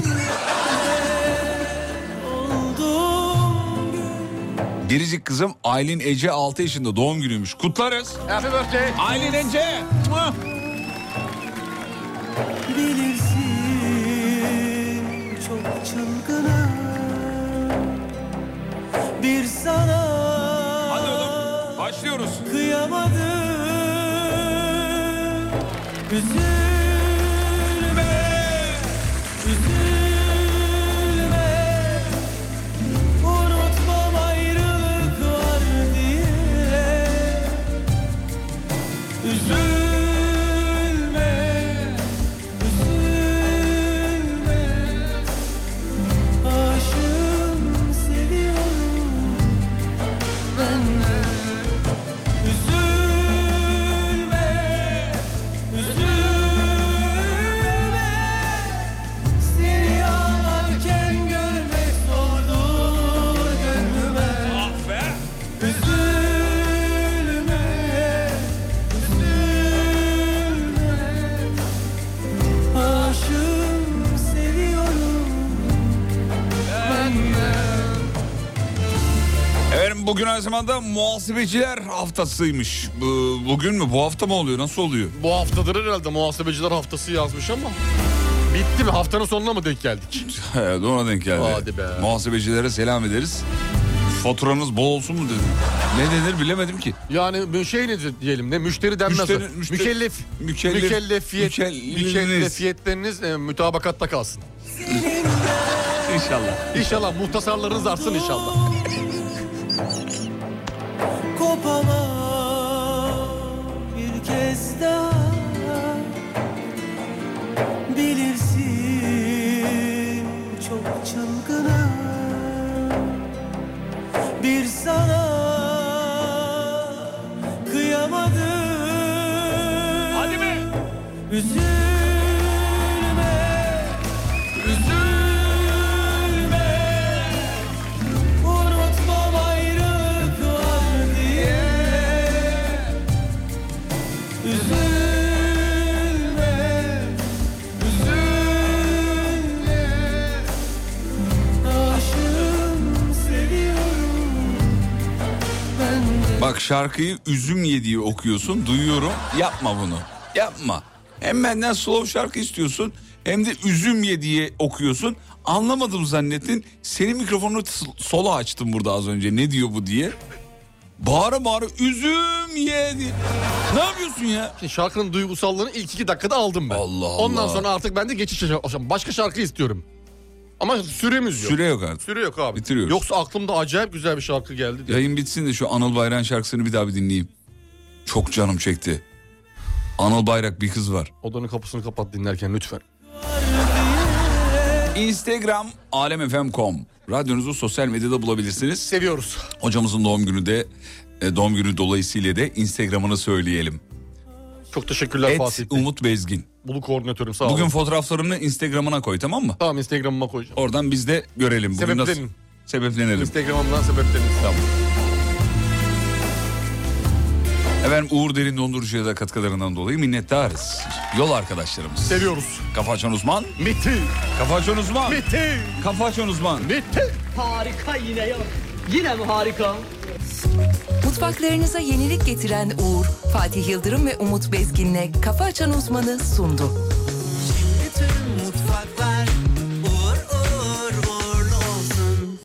S3: Biricik kızım Aylin Ece 6 yaşında doğum günüymüş. Kutlarız.
S4: Happy birthday.
S3: Aylin Ece.
S2: Bilirsin çok çılgınım bir sana Hadi oğlum
S3: başlıyoruz
S2: Kıyamadım Üzülme Üzülme Unutmam ayrılık var diye Üzülme Üzülme Aşığım seviyorum ben de Üzülme Üzülme Seni ağlarken görmek zordur gönlüme Ah be Üzülme Üzülme Aşığım seviyorum ben de
S3: Efendim bugün aynı zamanda muhasebeciler haftasıymış. Bu- Bugün mü? Bu hafta mı oluyor? Nasıl oluyor? (laughs)
S4: Bu haftadır herhalde muhasebeciler haftası yazmış ama. Bitti mi? Haftanın sonuna mı denk geldik?
S3: Evet ona denk geldi.
S4: Hadi be.
S3: Muhasebecilere selam ederiz. Faturanız bol olsun mu dedim. Ne denir bilemedim ki.
S4: Yani bir şey ne diyelim ne müşteri denmez.
S3: Müşteri-
S4: o.
S3: müşteri-
S4: mükellef,
S3: mükellef-
S4: mükellefiyet,
S3: mükellefiniz.
S4: mükellefiyetleriniz e, mütabakatta kalsın.
S3: İnşallah.
S4: İnşallah muhtasarlarınız artsın inşallah.
S2: kopamam bir kez daha Bilirsin çok çılgınım bir sana kıyamadım Hadi be! Üzülme, üzülme Unutmam ayrılık var diye Üzülme, üzülme Aşığım seviyorum ben de
S3: Bak şarkıyı üzüm yediği okuyorsun. Duyuyorum. Yapma bunu. Yapma. Hem benden slow şarkı istiyorsun hem de üzüm ye diye okuyorsun. Anlamadım zannettin. Senin mikrofonunu s- sola açtım burada az önce. Ne diyor bu diye. Bağıra bağıra üzüm ye diye. Ne yapıyorsun ya?
S4: Şimdi şarkının duygusallığını ilk iki dakikada aldım ben.
S3: Allah
S4: Ondan sonra artık ben de geçiş yaşa- aşam. Başka şarkı istiyorum. Ama süremiz yok.
S3: Süre yok artık.
S4: Süre yok abi.
S3: Bitiriyoruz.
S4: Yoksa aklımda acayip güzel bir şarkı geldi. diye.
S3: Yayın bitsin de şu Anıl Bayrak şarkısını bir daha bir dinleyeyim. Çok canım çekti. Anıl Bayrak bir kız var.
S4: Odanın kapısını kapat dinlerken lütfen.
S3: Instagram alemfm.com Radyonuzu sosyal medyada bulabilirsiniz.
S4: Seviyoruz.
S3: Hocamızın doğum günü de e, doğum günü dolayısıyla de Instagram'ını söyleyelim.
S4: Çok teşekkürler
S3: Et
S4: Fatih Bey.
S3: Umut Bezgin.
S4: Bulu koordinatörüm sağ olun.
S3: Bugün fotoğraflarını Instagram'ına koy tamam mı?
S4: Tamam Instagram'ıma koyacağım.
S3: Oradan biz de görelim. Bugün
S4: Sebeplenin.
S3: nasıl- Sebeplenelim.
S4: Instagram'dan sebepleriniz.
S3: Tamam. Efendim Uğur Derin Dondurucu'ya da katkılarından dolayı minnettarız. Yol arkadaşlarımız.
S4: Seviyoruz.
S3: Kafa Açan Uzman.
S4: Bitti.
S3: Kafa Açan Uzman.
S4: Bitti.
S3: Kafa Açan Uzman.
S4: Bitti.
S1: Harika yine yok. Yine mi harika? Mutfaklarınıza yenilik getiren Uğur, Fatih Yıldırım ve Umut Bezgin'le Kafa Açan Uzman'ı sundu.